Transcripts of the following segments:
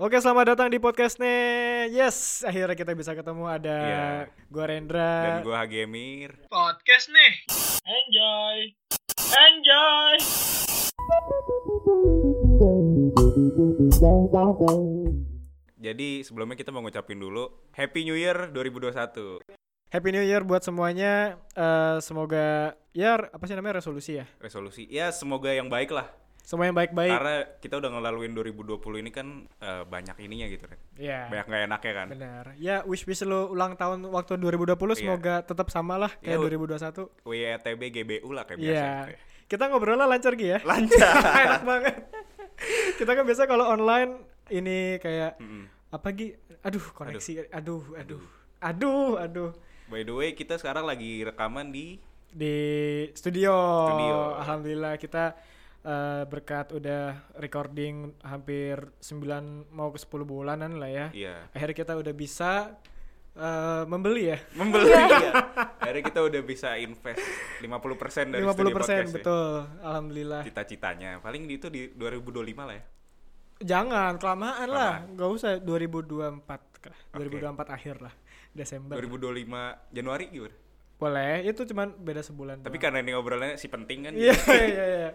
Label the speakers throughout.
Speaker 1: Oke, selamat datang di podcastnya. Yes, akhirnya kita bisa ketemu ada
Speaker 2: Iya.
Speaker 1: gua Rendra.
Speaker 2: Dan gue Hagemir.
Speaker 3: podcast nih. Enjoy. Enjoy.
Speaker 2: Jadi sebelumnya kita mau ngucapin dulu Happy New Year 2021.
Speaker 1: Happy New Year buat semuanya. Eh, semoga ya apa sih namanya resolusi ya.
Speaker 2: Resolusi ya semoga yang baik lah.
Speaker 1: Semua yang baik-baik.
Speaker 2: Karena kita udah ngelaluin 2020 ini kan eh, banyak ininya gitu kan.
Speaker 1: Iya.
Speaker 2: Banyak nggak enaknya kan.
Speaker 1: Benar. Ya, wish wish lo ulang tahun waktu 2020 semoga tetap sama lah kayak
Speaker 2: Iya,
Speaker 1: 2021.
Speaker 2: WYTB GBU lah kayak biasa. gitu
Speaker 1: Iya.
Speaker 2: ya.
Speaker 1: Kita ngobrolnya lancar Gi ya.
Speaker 2: Lancar.
Speaker 1: Enak banget. kita kan biasa kalau online ini kayak
Speaker 2: Mm-mm.
Speaker 1: apa Gi? Aduh, koneksi. Aduh, aduh. Aduh, aduh.
Speaker 2: By the way kita sekarang lagi rekaman di
Speaker 1: di studio.
Speaker 2: Studio.
Speaker 1: Alhamdulillah kita eh, berkat udah recording hampir 9 mau ke 10 bulanan lah ya.
Speaker 2: Iya.
Speaker 1: Akhirnya kita udah bisa eh, membeli ya.
Speaker 2: Membeli ya. Akhirnya kita udah bisa invest 50%
Speaker 1: 50%
Speaker 2: dari studio podcast ya. Gitu.
Speaker 1: betul. Alhamdulillah.
Speaker 2: Cita-citanya. Paling itu di 2025 lah ya.
Speaker 1: Jangan kelamaan lah. Gak usah 2024 lah.
Speaker 2: Oke.
Speaker 1: 2024 akhir lah. Desember.
Speaker 2: 2025 Januari gitu.
Speaker 1: Boleh. Itu cuman beda sebulan.
Speaker 2: Tapi kan-
Speaker 1: doang.
Speaker 2: karena ini obrolannya si penting kan.
Speaker 1: Iya, iya, iya.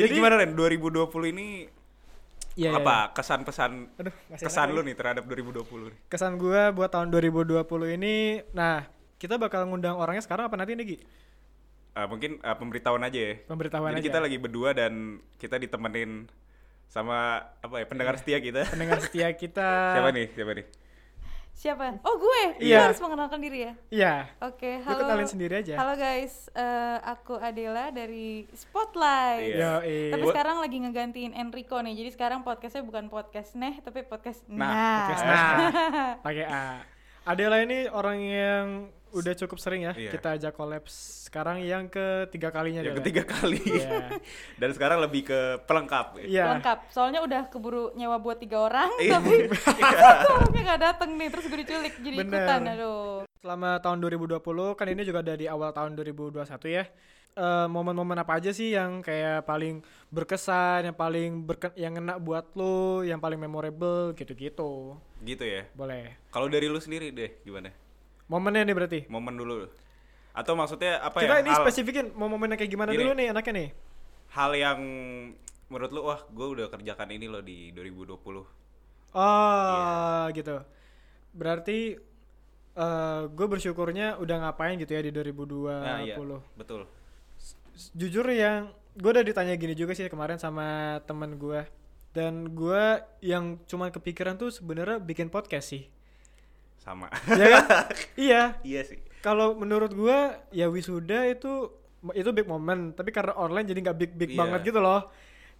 Speaker 2: Jadi, gimana Ren, 2020 ini
Speaker 1: Iya, iya,
Speaker 2: apa kesan-pesan
Speaker 1: iya. Aduh, masih
Speaker 2: kesan
Speaker 1: enak
Speaker 2: lu nih terhadap 2020 nih?
Speaker 1: kesan gua buat tahun 2020 ini nah kita bakal ngundang orangnya sekarang apa nanti nih Gi?
Speaker 2: Ah, mungkin ah, pemberitahuan aja ya.
Speaker 1: pemberitahuan
Speaker 2: Jadi
Speaker 1: aja
Speaker 2: kita lagi berdua dan kita ditemenin sama apa ya pendengar setia kita.
Speaker 1: Iya. pendengar Iya, setia kita
Speaker 2: Siapa nih? Siapa nih?
Speaker 4: Siapa? Oh gue, Gue
Speaker 1: Iya.
Speaker 4: harus mengenalkan diri ya.
Speaker 1: iya
Speaker 4: Oke,
Speaker 1: Lu
Speaker 4: halo.
Speaker 1: kenalin sendiri aja.
Speaker 4: Halo guys, Eh, aku Adela dari Spotlight.
Speaker 2: Iya.
Speaker 1: Yoi.
Speaker 4: Tapi
Speaker 2: Gua-
Speaker 4: sekarang lagi ngegantiin Enrico nih. Jadi sekarang podcastnya bukan podcast neh, tapi podcast
Speaker 2: Nah,
Speaker 4: nah.
Speaker 1: Podcast nah pakai A Adela ini orang yang udah cukup sering ya
Speaker 2: Iya.
Speaker 1: kita ajak collabs sekarang yang ketiga kalinya Adela.
Speaker 2: Yang ketiga kali.
Speaker 1: Iya.
Speaker 2: dan sekarang lebih ke pelengkap. ya.
Speaker 1: iya
Speaker 4: Lengkap. Soalnya udah keburu nyewa buat tiga orang, tapi satu orangnya nggak dateng nih. Terus gue diculik jadi
Speaker 1: Bener.
Speaker 4: ikutan. Aduh.
Speaker 1: selama tahun 2020 kan ini juga dari awal tahun 2021 ya Eh, momen-momen apa aja sih yang kayak paling berkesan yang paling berke- yang ngena buat lo yang paling memorable gitu-gitu
Speaker 2: Gitu ya.
Speaker 1: boleh
Speaker 2: Kalau dari lu sendiri deh gimana?
Speaker 1: momennya nih berarti
Speaker 2: Momen dulu. Atau maksudnya apa
Speaker 1: kita
Speaker 2: ya?
Speaker 1: ini
Speaker 2: hal,
Speaker 1: spesifikin mau momennya kayak gimana
Speaker 2: Gini.
Speaker 1: dulu nih enaknya nih
Speaker 2: hal yang menurut lu wah gue udah kerjakan ini loh di 2020. Iya.
Speaker 1: oh gitu berarti eh gue bersyukurnya udah ngapain gitu ya di 2020
Speaker 2: Nah, iya. Betul.
Speaker 1: jujur yang gue udah ditanya gini juga sih kemarin sama temen gue dan gue yang cuman kepikiran tuh sebenarnya bikin podcast sih
Speaker 2: Sama.
Speaker 1: ya kan iya
Speaker 2: iya sih.
Speaker 1: kalau menurut gue ya wisuda itu itu big moment tapi karena online jadi nggak big big
Speaker 2: Iya.
Speaker 1: banget gitu loh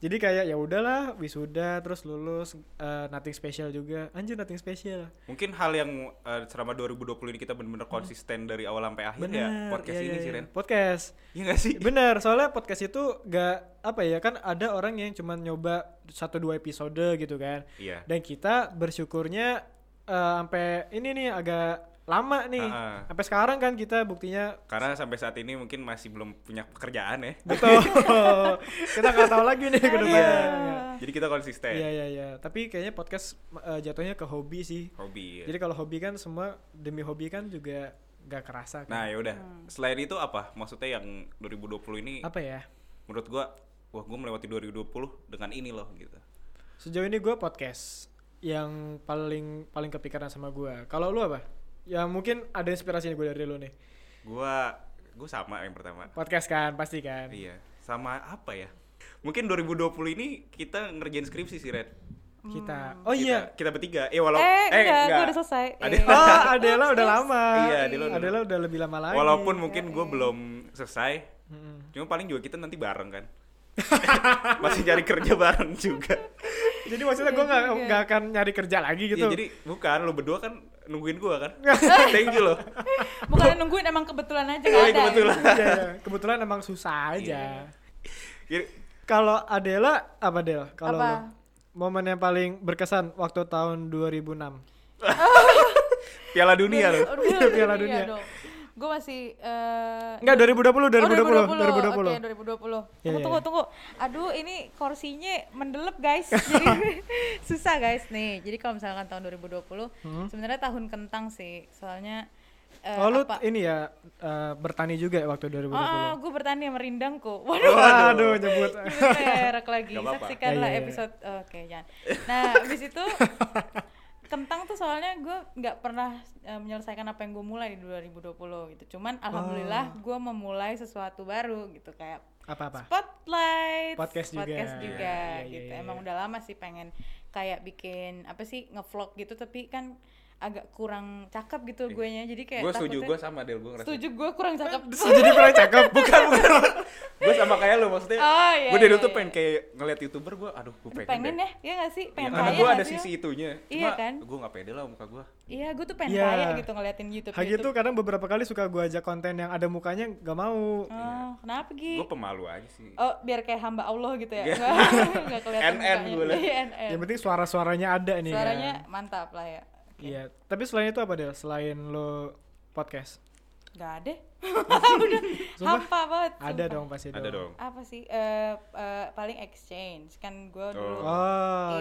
Speaker 1: jadi kayak ya udahlah wisuda terus lulus eh, nothing special juga anjir nothing special
Speaker 2: Mungkin hal yang eh, selama 2020 ini kita benar-benar konsisten dari awal sampai akhir ya
Speaker 1: Hmm. Bener,
Speaker 2: podcast
Speaker 1: iya,
Speaker 2: ini
Speaker 1: iya,
Speaker 2: sih
Speaker 1: iya.
Speaker 2: Ren.
Speaker 1: podcast
Speaker 2: Iya gak sih?
Speaker 1: Bener, soalnya podcast itu gak apa ya kan ada orang yang cuma nyoba satu dua episode gitu kan.
Speaker 2: Iya.
Speaker 1: Dan kita bersyukurnya eh, sampai ini nih agak lama nih.
Speaker 2: Ha-ha.
Speaker 1: Sampai sekarang kan kita buktinya
Speaker 2: Karena sampai saat ini mungkin masih belum punya pekerjaan ya.
Speaker 1: betul. kita nggak tahu lagi nih
Speaker 2: Iya.
Speaker 1: ke depannya.
Speaker 2: Jadi kita konsisten.
Speaker 1: Ah. Iya iya iya. Tapi kayaknya podcast eh, jatuhnya ke hobi sih.
Speaker 2: Hobi. Ya.
Speaker 1: Jadi kalau hobi kan semua demi hobi kan juga gak kerasa kan.
Speaker 2: Nah, ya udah. Selain itu apa? Maksudnya yang 2020 ini
Speaker 1: Apa ya?
Speaker 2: menurut gua wah gua melewati 2020 dengan ini loh gitu.
Speaker 1: Sejauh ini gue podcast yang paling paling kepikiran sama gue. Kalau lu apa? Ya mungkin ada inspirasi gue dari lu nih.
Speaker 2: Gua gua sama yang pertama.
Speaker 1: Podcast kan pasti kan.
Speaker 2: Iya. Sama apa ya? Mungkin 2020 ini kita ngerjain skripsi sih Ren.
Speaker 1: Kita.
Speaker 4: Hmm.
Speaker 1: Oh iya.
Speaker 2: Kita- Kita bertiga. Eh walau
Speaker 4: Eh, enggak, gua udah selesai.
Speaker 2: Ada
Speaker 4: Iya.
Speaker 1: Oh, Adela udah lama.
Speaker 2: Iya, Adela udah
Speaker 1: Adela udah lebih lama lagi.
Speaker 2: Walaupun mungkin gue belum selesai, cuma paling juga kita nanti bareng kan. Masih cari kerja bareng juga.
Speaker 1: Jadi maksudnya
Speaker 4: Iya
Speaker 1: gue gak, nggak akan nyari kerja lagi gitu.
Speaker 2: Iya, jadi bukan lu berdua kan nungguin gue kan. Thank you loh.
Speaker 4: Bukan Iya. nungguin emang kebetulan aja
Speaker 2: Oh,
Speaker 4: nggak ada.
Speaker 2: kebetulan.
Speaker 1: Iya, iya. Kebetulan emang
Speaker 2: Iya.
Speaker 1: susah aja.
Speaker 2: Jadi,
Speaker 1: Kalau Adela apa Adela? Kalau
Speaker 4: Apa?
Speaker 1: lu? momen yang paling berkesan waktu tahun 2006.
Speaker 2: Piala dunia loh.
Speaker 4: Aduh,
Speaker 1: Piala dunia.
Speaker 4: dong. gue masih eh,
Speaker 1: Enggak 2020
Speaker 4: oh,
Speaker 1: 2020 2020.
Speaker 4: Oke, 2020.
Speaker 1: Iya,
Speaker 4: Tunggu,
Speaker 1: iya,
Speaker 4: tunggu,
Speaker 1: iya.
Speaker 4: tunggu. Aduh, ini kursinya mendelep, guys. Jadi susah, guys, nih. Jadi kalau misalkan tahun 2020, sebenarnya tahun kentang sih. Soalnya eh,
Speaker 1: Hmm? Oh lu
Speaker 4: apa?
Speaker 1: ini ya eh, bertani juga ya waktu 2020.
Speaker 4: Oh, gue bertani sama rindangku.
Speaker 1: Oh.
Speaker 4: Waduh.
Speaker 1: Waduh nyebut.
Speaker 4: nyebut merek lagi.
Speaker 2: Gak apa-apa.
Speaker 1: Ya,
Speaker 4: Saksikanlah
Speaker 1: ya, ya.
Speaker 4: episode oh, oke jangan. Nah, habis itu kentang tuh soalnya gue nggak pernah eh, menyelesaikan apa yang gue mulai di 2020 gitu. Cuman
Speaker 1: Oh.
Speaker 4: alhamdulillah gue memulai sesuatu baru gitu kayak
Speaker 1: Apa-apa?
Speaker 4: Spotlight,
Speaker 1: Podcast juga.
Speaker 4: juga,
Speaker 1: Iya, iya,
Speaker 4: gitu.
Speaker 1: iya,
Speaker 4: Emang udah lama sih pengen kayak bikin apa sih ngevlog gitu, tapi kan agak kurang cakep gitu guenya. Jadi kayak
Speaker 2: gue Iya. setuju
Speaker 4: takutnya-
Speaker 2: gue sama Del gue ngerasa gitu.
Speaker 4: setuju gue kurang cakep.
Speaker 1: Oh, Jadi pernah cakep bukan?
Speaker 2: gue sama kayak lu maksudnya
Speaker 4: Oh, iya,
Speaker 2: gue dari
Speaker 4: iya,
Speaker 2: dulu tuh
Speaker 4: iya.
Speaker 2: pengen kayak ngeliat youtuber gue aduh gue pengen,
Speaker 4: pengen
Speaker 2: deh.
Speaker 4: ya, iya gak sih?
Speaker 2: Iya,
Speaker 4: Pengen
Speaker 2: karena
Speaker 4: kaya
Speaker 2: gue
Speaker 4: nggak
Speaker 2: ada
Speaker 4: sih
Speaker 2: sisi
Speaker 4: lu?
Speaker 2: itunya
Speaker 4: Iya kan?
Speaker 2: gue gak pede lah muka gue
Speaker 4: Iya, gue tuh pengen
Speaker 1: Iya.
Speaker 4: kaya gitu ngeliatin YouTube.
Speaker 1: Hagi tuh kadang beberapa kali suka gua ajak konten yang ada mukanya gak mau.
Speaker 2: Iya.
Speaker 4: Oh, kenapa Gi?
Speaker 2: gue pemalu aja sih
Speaker 1: Iya
Speaker 4: Oh, biar kayak hamba Allah gitu ya.
Speaker 2: Iya.
Speaker 4: Nggak- Nggak kelihatan
Speaker 2: NN
Speaker 4: mukanya.
Speaker 2: gue lah.
Speaker 4: Iya, NN.
Speaker 1: Yang penting suara-suaranya ada nih.
Speaker 4: Suaranya
Speaker 1: kan.
Speaker 4: mantap lah ya.
Speaker 1: Iya. Tapi selain itu apa Del? Selain lo podcast?
Speaker 4: Gak ada. Udah hampa banget.
Speaker 1: Ada
Speaker 4: sumpah.
Speaker 1: dong pasti
Speaker 2: ada dong
Speaker 4: Apa sih? Eh, eh, paling exchange kan gue dulu.
Speaker 2: Oh.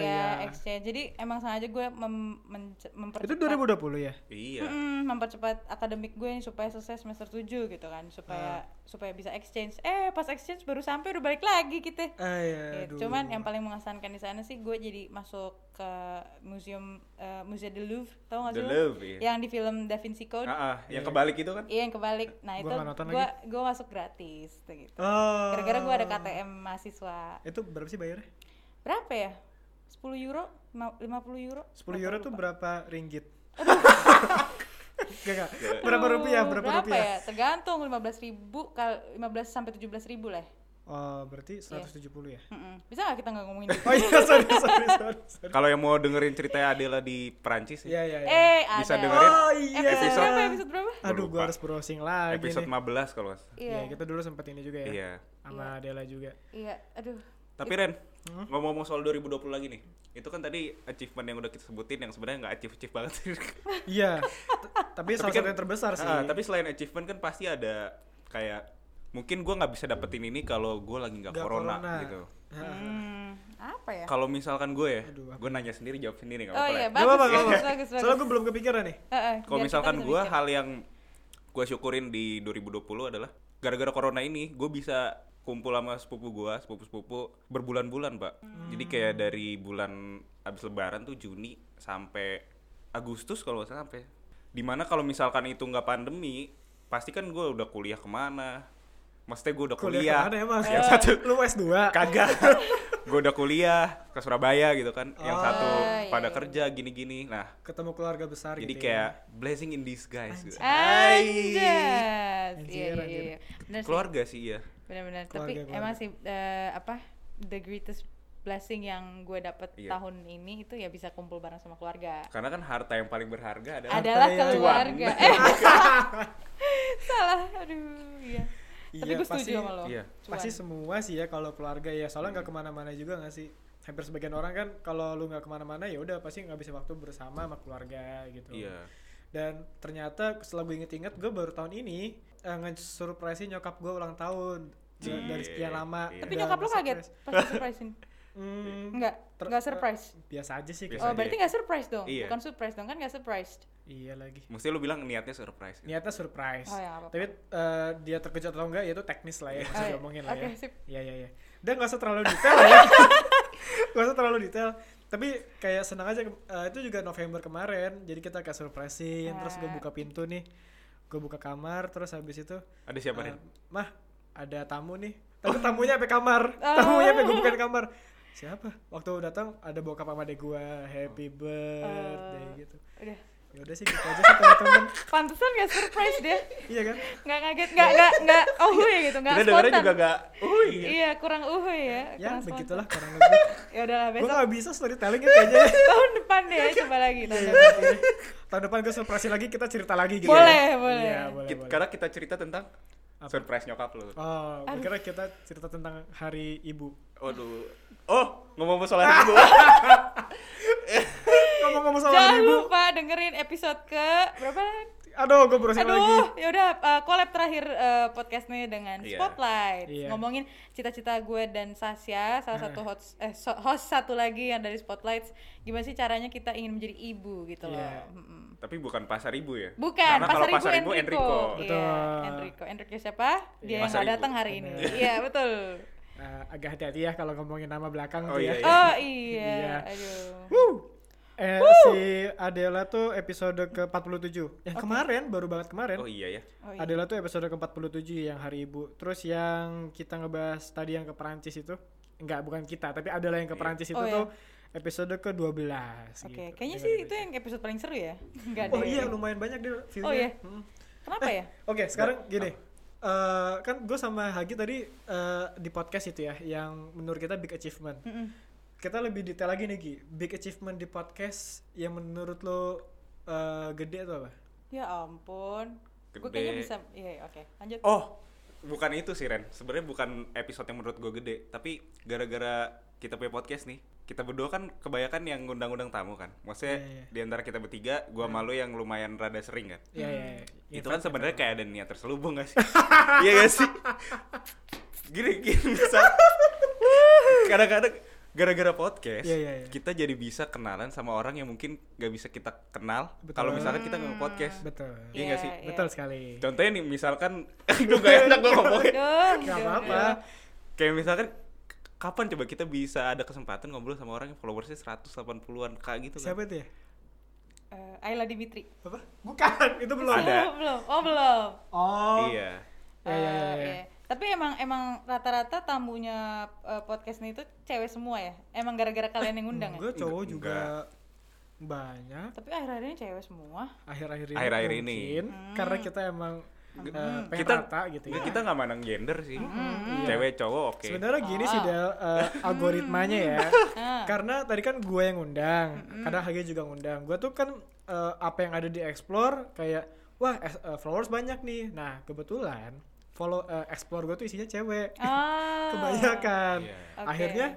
Speaker 1: Oh
Speaker 4: iya,
Speaker 1: iya.
Speaker 4: exchange. Jadi emang sengaja gue mem mence-
Speaker 1: Itu
Speaker 4: mempercepat
Speaker 1: 2020 ya?
Speaker 2: iya
Speaker 4: Mm-mm, mempercepat akademik gue nih supaya selesai semester 7 gitu
Speaker 1: Ah.
Speaker 4: kan supaya supaya bisa exchange eh pas exchange baru sampai udah balik lagi gitu
Speaker 1: Ah, iya,
Speaker 4: Gitu.
Speaker 1: aduh.
Speaker 4: cuman yang paling mengesankan di sana sih gue jadi masuk ke museum eh, museum the Louvre tau gak
Speaker 2: The
Speaker 4: sih lo?
Speaker 2: Louvre, iya.
Speaker 1: ya
Speaker 4: yang di film Da Vinci Code
Speaker 2: Ah, ah, yang kebalik itu kan
Speaker 4: iya yang kebalik nah
Speaker 1: Gua
Speaker 4: itu
Speaker 1: nggak nonton
Speaker 4: gue gue masuk gratis tuh gitu
Speaker 1: Oh.
Speaker 4: gara-gara gue ada KTM mahasiswa
Speaker 1: Itu berapa sih bayarnya?
Speaker 4: berapa ya 10 euro Ma- 50 euro
Speaker 1: 10 euro tuh berapa ringgit? gak, gak. Berapa rupiah? Berapa, rupiah?
Speaker 4: ya? Tergantung 15 ribu kali 15 sampai 17 ribu lah.
Speaker 1: Oh, berarti
Speaker 4: Iya.
Speaker 1: 170 ya?
Speaker 4: Mm-mm. Bisa nggak kita nggak ngomongin gitu? duit?
Speaker 1: Oh iya, sorry, sorry, sorry. sorry.
Speaker 2: kalau yang mau dengerin ceritanya Adela di Perancis
Speaker 1: Iya,
Speaker 2: ya,
Speaker 1: iya, iya.
Speaker 4: eh, ada.
Speaker 2: bisa dengerin
Speaker 1: Oh iya.
Speaker 4: Episode
Speaker 2: Episode-
Speaker 4: berapa? Episode berapa?
Speaker 1: Aduh,
Speaker 2: Lupa.
Speaker 1: gua harus browsing lagi
Speaker 2: episode
Speaker 1: nih.
Speaker 2: 15 kalau nggak salah.
Speaker 4: Iya.
Speaker 1: Iya, kita dulu sempet ini juga ya.
Speaker 2: iya
Speaker 1: Sama Adela juga.
Speaker 4: Iya, aduh.
Speaker 2: tapi Ren
Speaker 1: Mm-hmm.
Speaker 2: ngomong-ngomong soal 2020 lagi nih itu kan tadi achievement yang udah kita sebutin yang sebenarnya nggak achieve achieve banget
Speaker 1: Iya. t- Tapi salah
Speaker 2: kan-
Speaker 1: satu yang terbesar sih.
Speaker 2: Ah, tapi selain achievement kan pasti ada kayak mungkin gua nggak bisa dapetin ini kalau gua lagi nggak
Speaker 1: Nggak
Speaker 2: corona,
Speaker 1: corona. Iya.
Speaker 2: gitu
Speaker 4: Hmm, apa ya?
Speaker 2: kalau misalkan gue ya
Speaker 1: Aduh, apa?
Speaker 2: gue nanya sendiri jawab sendiri nggak
Speaker 4: Oh
Speaker 2: apa-apa
Speaker 4: iya,
Speaker 2: lah.
Speaker 1: Gak apa-apa, gak
Speaker 4: bagus, bagus,
Speaker 1: apa-apa.
Speaker 4: bagus,
Speaker 1: Soalnya
Speaker 4: bagus.
Speaker 1: gue belum kepikiran nih.
Speaker 4: Eh, eh,
Speaker 2: Kalau
Speaker 4: biar kita
Speaker 2: misalkan
Speaker 4: bisa
Speaker 2: gue
Speaker 4: mikir.
Speaker 2: hal yang gue syukurin di 2020 adalah gara-gara corona ini gue bisa kumpul sama sepupu gue, sepupu-sepupu berbulan-bulan, Pak.
Speaker 4: Hmm.
Speaker 2: Jadi kayak dari bulan abis lebaran tuh Juni sampai Agustus kalau nggak salah sampai. Dimana kalau misalkan itu nggak pandemi, pasti kan gue udah kuliah kemana. Maksudnya gue udah kuliah.
Speaker 1: Kuliah kemana ya, emang?
Speaker 2: Yang satu Kan-
Speaker 1: Lu S2?
Speaker 2: kagak. gue udah kuliah ke Surabaya gitu kan. Yang satu
Speaker 4: iya,
Speaker 2: pada
Speaker 4: iya.
Speaker 2: kerja gini-gini. Nah,
Speaker 1: Ketemu keluarga besar
Speaker 2: jadi
Speaker 1: gitu
Speaker 2: kayak blessing in disguise. gitu.
Speaker 4: Eh, Anjas. Iya,
Speaker 1: Anjir,
Speaker 4: iya,
Speaker 1: anjir.
Speaker 4: iya. Bener sih,
Speaker 2: keluarga sih iya
Speaker 4: bener-bener. Tapi
Speaker 1: Keluarga, keluarga.
Speaker 4: emang sih eh, apa the greatest blessing yang gue dapet
Speaker 2: Iya.
Speaker 4: tahun ini itu ya bisa kumpul bareng sama keluarga.
Speaker 2: karena kan harta yang paling berharga adalah
Speaker 4: adalah
Speaker 1: yang-
Speaker 4: keluarga. Eh, salah. salah. Aduh, iya. Tapi
Speaker 1: Iya,
Speaker 4: gue setuju
Speaker 1: pasti-
Speaker 4: sama lo.
Speaker 2: iya.
Speaker 4: Cuan. Hmm.
Speaker 1: Pasti semua sih ya kalau keluarga ya soalnya nggak kemana-mana juga nggak sih hampir sebagian orang kan kalau lu nggak kemana-mana ya udah pasti ngabisin waktu bersama sama keluarga gitu
Speaker 2: iya
Speaker 1: dan ternyata setelah gue inget-inget gue baru tahun ini eh, nge-surprise nyokap gue ulang tahun Ya,
Speaker 2: Cie. iya.
Speaker 1: dari sekian lama
Speaker 2: Tapi
Speaker 4: Tapi
Speaker 1: Udah
Speaker 4: nyokap lo kaget
Speaker 1: nge-surprise.
Speaker 4: pas di surprisein?
Speaker 1: Hmm,
Speaker 4: Enggak,
Speaker 1: Ter- Iya,
Speaker 4: enggak surprise.
Speaker 1: biasa aja sih
Speaker 2: Biasa
Speaker 1: Kak.
Speaker 4: oh,
Speaker 2: aja.
Speaker 4: berarti enggak surprise dong.
Speaker 2: Iya.
Speaker 4: Bukan surprise dong, kan enggak surprised.
Speaker 1: iya lagi
Speaker 2: mesti lu bilang niatnya surprise gitu.
Speaker 1: niatnya surprise
Speaker 4: Oh, ya, nggak apa-apa.
Speaker 1: tapi eh, dia terkejut atau enggak ya itu teknis lah ya bisa
Speaker 4: Oh, iya.
Speaker 1: diomongin lah
Speaker 4: Oke,
Speaker 1: ya
Speaker 4: sip.
Speaker 1: Iya iya iya. Dan nggak usah terlalu detail ya. Nggak usah terlalu detail. Tapi kayak senang aja ke- eh, itu juga November kemarin. Jadi kita kayak surprisein. Terus gue buka pintu nih. Gue buka kamar. Terus habis itu,
Speaker 2: ada siapa
Speaker 1: eh,
Speaker 2: Ren?
Speaker 1: mah ada tamu nih. Tapi tamunya sampai kamar. Tamunya sampai gue bukain kamar. Siapa? Waktu datang ada bokap sama adek gue. Happy birthday gitu.
Speaker 4: Udah.
Speaker 1: Ya udah sih gitu aja sih teman-teman.
Speaker 4: Pantesan enggak surprise dia.
Speaker 1: iya kan?
Speaker 4: Enggak kaget, enggak enggak enggak
Speaker 1: Iya.
Speaker 4: oh ya gitu, enggak
Speaker 2: kita dengarnya
Speaker 4: spontan.
Speaker 2: juga Oh, gak uy
Speaker 4: Iya, kurang uhu ya.
Speaker 1: gitu. Ya
Speaker 4: kurang spontan.
Speaker 1: begitulah kurang lebih.
Speaker 4: Ya udahlah
Speaker 1: gue
Speaker 4: besok
Speaker 1: gak bisa storytelling kayaknya.
Speaker 4: tahun depan deh coba lagi tahun
Speaker 1: Iya,
Speaker 4: depan.
Speaker 1: iya. tahun depan gue surprise lagi kita cerita lagi gitu
Speaker 4: Boleh,
Speaker 1: ya.
Speaker 4: boleh.
Speaker 1: iya boleh,
Speaker 2: Kit-
Speaker 1: boleh.
Speaker 2: karena kita cerita tentang
Speaker 1: Apa?
Speaker 2: surprise nyokap lu
Speaker 1: oh gue kira kita cerita tentang hari ibu
Speaker 2: waduh oh ngomong soal hari ibu
Speaker 1: ngomong-ngomong soal
Speaker 4: Jangan
Speaker 1: hari ibu
Speaker 4: lupa dengerin episode ke berapa?
Speaker 1: Aduh, gue browsing lagi.
Speaker 4: Aduh, ya udah eh, collab terakhir eh, podcast nih dengan
Speaker 2: Iya.
Speaker 4: Spotlight.
Speaker 1: Iya.
Speaker 4: Ngomongin cita-cita gue dan Sasya, salah satu host eh, so- host satu lagi yang dari Spotlight. Gimana sih caranya kita ingin menjadi ibu gitu loh.
Speaker 1: Iya.
Speaker 4: Mm-mm.
Speaker 2: Tapi bukan pasar ibu ya?
Speaker 4: Bukan,
Speaker 2: Karena
Speaker 4: Pasar
Speaker 2: kalau
Speaker 4: Ibu
Speaker 2: pasar ibu Enrico.
Speaker 4: Iya,
Speaker 1: Betul. Iya.
Speaker 4: Enrico. Enrico siapa? Dia yang
Speaker 2: Pasar
Speaker 4: nggak
Speaker 2: Ibu.
Speaker 4: datang hari ini.
Speaker 1: Bener.
Speaker 4: Iya, betul.
Speaker 1: Eh, agak hati-hati ya kalau ngomongin nama belakang
Speaker 2: Oh,
Speaker 1: tuh ya.
Speaker 2: iya, iya.
Speaker 4: Oh iya,
Speaker 1: Iya.
Speaker 4: aduh.
Speaker 1: Woo. Eh, si Adela tuh episode ke-47. Yang kemarin, baru banget kemarin.
Speaker 2: Oh iya ya.
Speaker 4: Oh, iya.
Speaker 1: Adela tuh episode ke-47 yang hari ibu. Terus yang kita ngebahas tadi yang ke Perancis itu. Enggak, bukan kita, tapi Adela yang ke Perancis itu
Speaker 4: Oh, iya.
Speaker 1: tuh episode ke-12
Speaker 4: Oke,
Speaker 1: gitu.
Speaker 4: kayaknya
Speaker 1: Dengar
Speaker 4: sih
Speaker 1: dulu.
Speaker 4: itu yang episode paling seru ya. Enggak
Speaker 1: Oh
Speaker 4: deh.
Speaker 1: iya, lumayan banyak deh view-nya.
Speaker 4: Oh iya.
Speaker 1: Mm.
Speaker 4: Kenapa ya?
Speaker 1: Oke, sekarang gini. Eh, kan gue sama Hagi tadi eh, di podcast itu ya, yang menurut kita big achievement.
Speaker 4: Mm-mm.
Speaker 1: Kita lebih detail lagi nih, Gi. Big achievement di podcast yang menurut lo eh, gede atau apa?
Speaker 4: Ya ampun.
Speaker 2: Gede.
Speaker 4: Gue kayaknya bisa. Iya, iya, oke. Lanjut.
Speaker 2: Oh, bukan itu sih Ren. Sebenarnya bukan episode yang menurut gue gede, tapi gara-gara kita punya podcast nih, kita berdua kan kebanyakan yang ngundang-undang tamu kan. Maksudnya
Speaker 1: Iya, iya.
Speaker 2: di antara kita bertiga, gua malu yang lumayan rada sering kan.
Speaker 1: Iya, iya. iya.
Speaker 2: itu kan sebenarnya kayak ada niat terselubung gak sih? Iya gak sih? Gini, gini bisa. Kadang-kadang gara-gara podcast,
Speaker 1: Iya, iya, iya.
Speaker 2: kita jadi bisa kenalan sama orang yang mungkin gak bisa kita kenal
Speaker 1: Betul.
Speaker 2: kalau misalnya kita nggak podcast.
Speaker 1: Betul.
Speaker 2: Iya nggak sih?
Speaker 4: Iya.
Speaker 1: Betul sekali.
Speaker 2: Contohnya nih misalkan, aduh gak enak gue ngomongnya.
Speaker 4: Aduh,
Speaker 1: Gak
Speaker 4: aduh,
Speaker 1: apa-apa.
Speaker 4: aduh.
Speaker 2: Kayak misalkan k- kapan coba kita bisa ada kesempatan ngobrol sama orang yang followersnya 180-an k gitu kan?
Speaker 1: Siapa itu ya?
Speaker 4: Eh, Ayla Dimitri.
Speaker 1: Apa? Bukan, itu belum.
Speaker 2: Ada.
Speaker 4: Oh, belum. Oh, belum.
Speaker 1: Oh.
Speaker 2: Iya.
Speaker 1: Iya, iya,
Speaker 4: Eh,
Speaker 1: iya,
Speaker 4: iya. Tapi emang emang rata-rata tamunya eh, podcast ini itu cewek semua ya? Emang gara-gara kalian yang ngundang ya?
Speaker 1: Gue cowok
Speaker 2: Enggak.
Speaker 1: juga banyak
Speaker 4: Tapi akhir-akhir ini cewek semua.
Speaker 1: akhir-akhir ini
Speaker 2: Akhir-akhir ini. hmm,
Speaker 1: mungkin karena kita emang eh, pengen
Speaker 2: Kita
Speaker 1: rata gitu ya.
Speaker 2: nggak, kita nggak mandang gender sih.
Speaker 4: Iya.
Speaker 2: Cewek cowok oke.
Speaker 1: Sebenarnya gini sih Del, eh, algoritmanya ya. Karena tadi kan gue yang ngundang, kadang Hage juga ngundang. Gue tuh kan eh, apa yang ada di explore kayak wah es- eh, followers banyak nih. Nah kebetulan follow eh, explore gue tuh isinya cewek
Speaker 4: Ah.
Speaker 1: kebanyakan.
Speaker 2: Iya.
Speaker 4: Oke.
Speaker 1: Akhirnya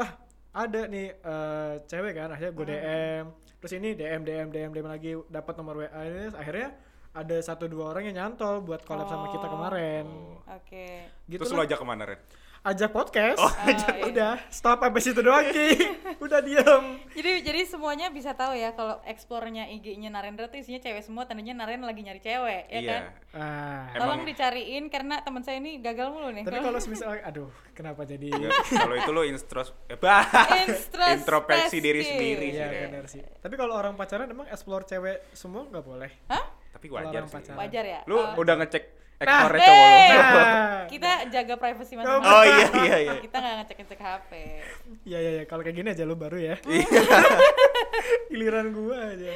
Speaker 1: ah ada nih eh, cewek kan akhirnya
Speaker 4: Ah.
Speaker 1: gue DM. Terus ini DM DM DM DM lagi dapat nomor WA ini akhirnya ada satu dua orang yang nyantol buat collab sama
Speaker 4: Oh.
Speaker 1: kita kemarin.
Speaker 4: Oke.
Speaker 1: Gitu
Speaker 2: Terus
Speaker 1: lah.
Speaker 2: lo ajak Oh, kemana Ren?
Speaker 1: ajak podcast.
Speaker 4: ajak.
Speaker 1: Udah, stop sampai situ doang, Ki. Udah diem.
Speaker 4: Jadi jadi semuanya bisa tahu ya kalau explore-nya IG-nya Narendra tuh isinya cewek semua, tandanya Naren lagi nyari cewek, ya
Speaker 2: iya.
Speaker 4: kan?
Speaker 1: Ah.
Speaker 2: Emang-
Speaker 4: Tolong dicariin karena teman saya ini gagal mulu nih.
Speaker 1: Tapi kalau semisal aduh, kenapa jadi
Speaker 2: Nggak, kalau itu lo instros eh, bah.
Speaker 4: Introspeksi.
Speaker 2: introspeksi diri sendiri sih.
Speaker 1: Iya,
Speaker 2: Ren.
Speaker 1: benar sih. Tapi kalau orang pacaran emang explore cewek semua nggak boleh.
Speaker 4: Hah?
Speaker 2: Tapi
Speaker 1: Kalau
Speaker 2: wajar
Speaker 1: orang
Speaker 2: sih.
Speaker 1: pacaran.
Speaker 4: Wajar ya?
Speaker 2: Lu
Speaker 4: Oh.
Speaker 2: udah ngecek ekspornya
Speaker 4: Nah.
Speaker 2: cowok
Speaker 4: Hey.
Speaker 2: lo.
Speaker 1: Nah.
Speaker 4: kita jaga privasi masing-masing.
Speaker 2: Oh iya iya iya.
Speaker 4: Kita nggak ngecek-ngecek HP.
Speaker 1: Iya, iya, iya. Kalau kayak gini aja lu baru ya.
Speaker 2: Iya.
Speaker 1: Giliran gua aja.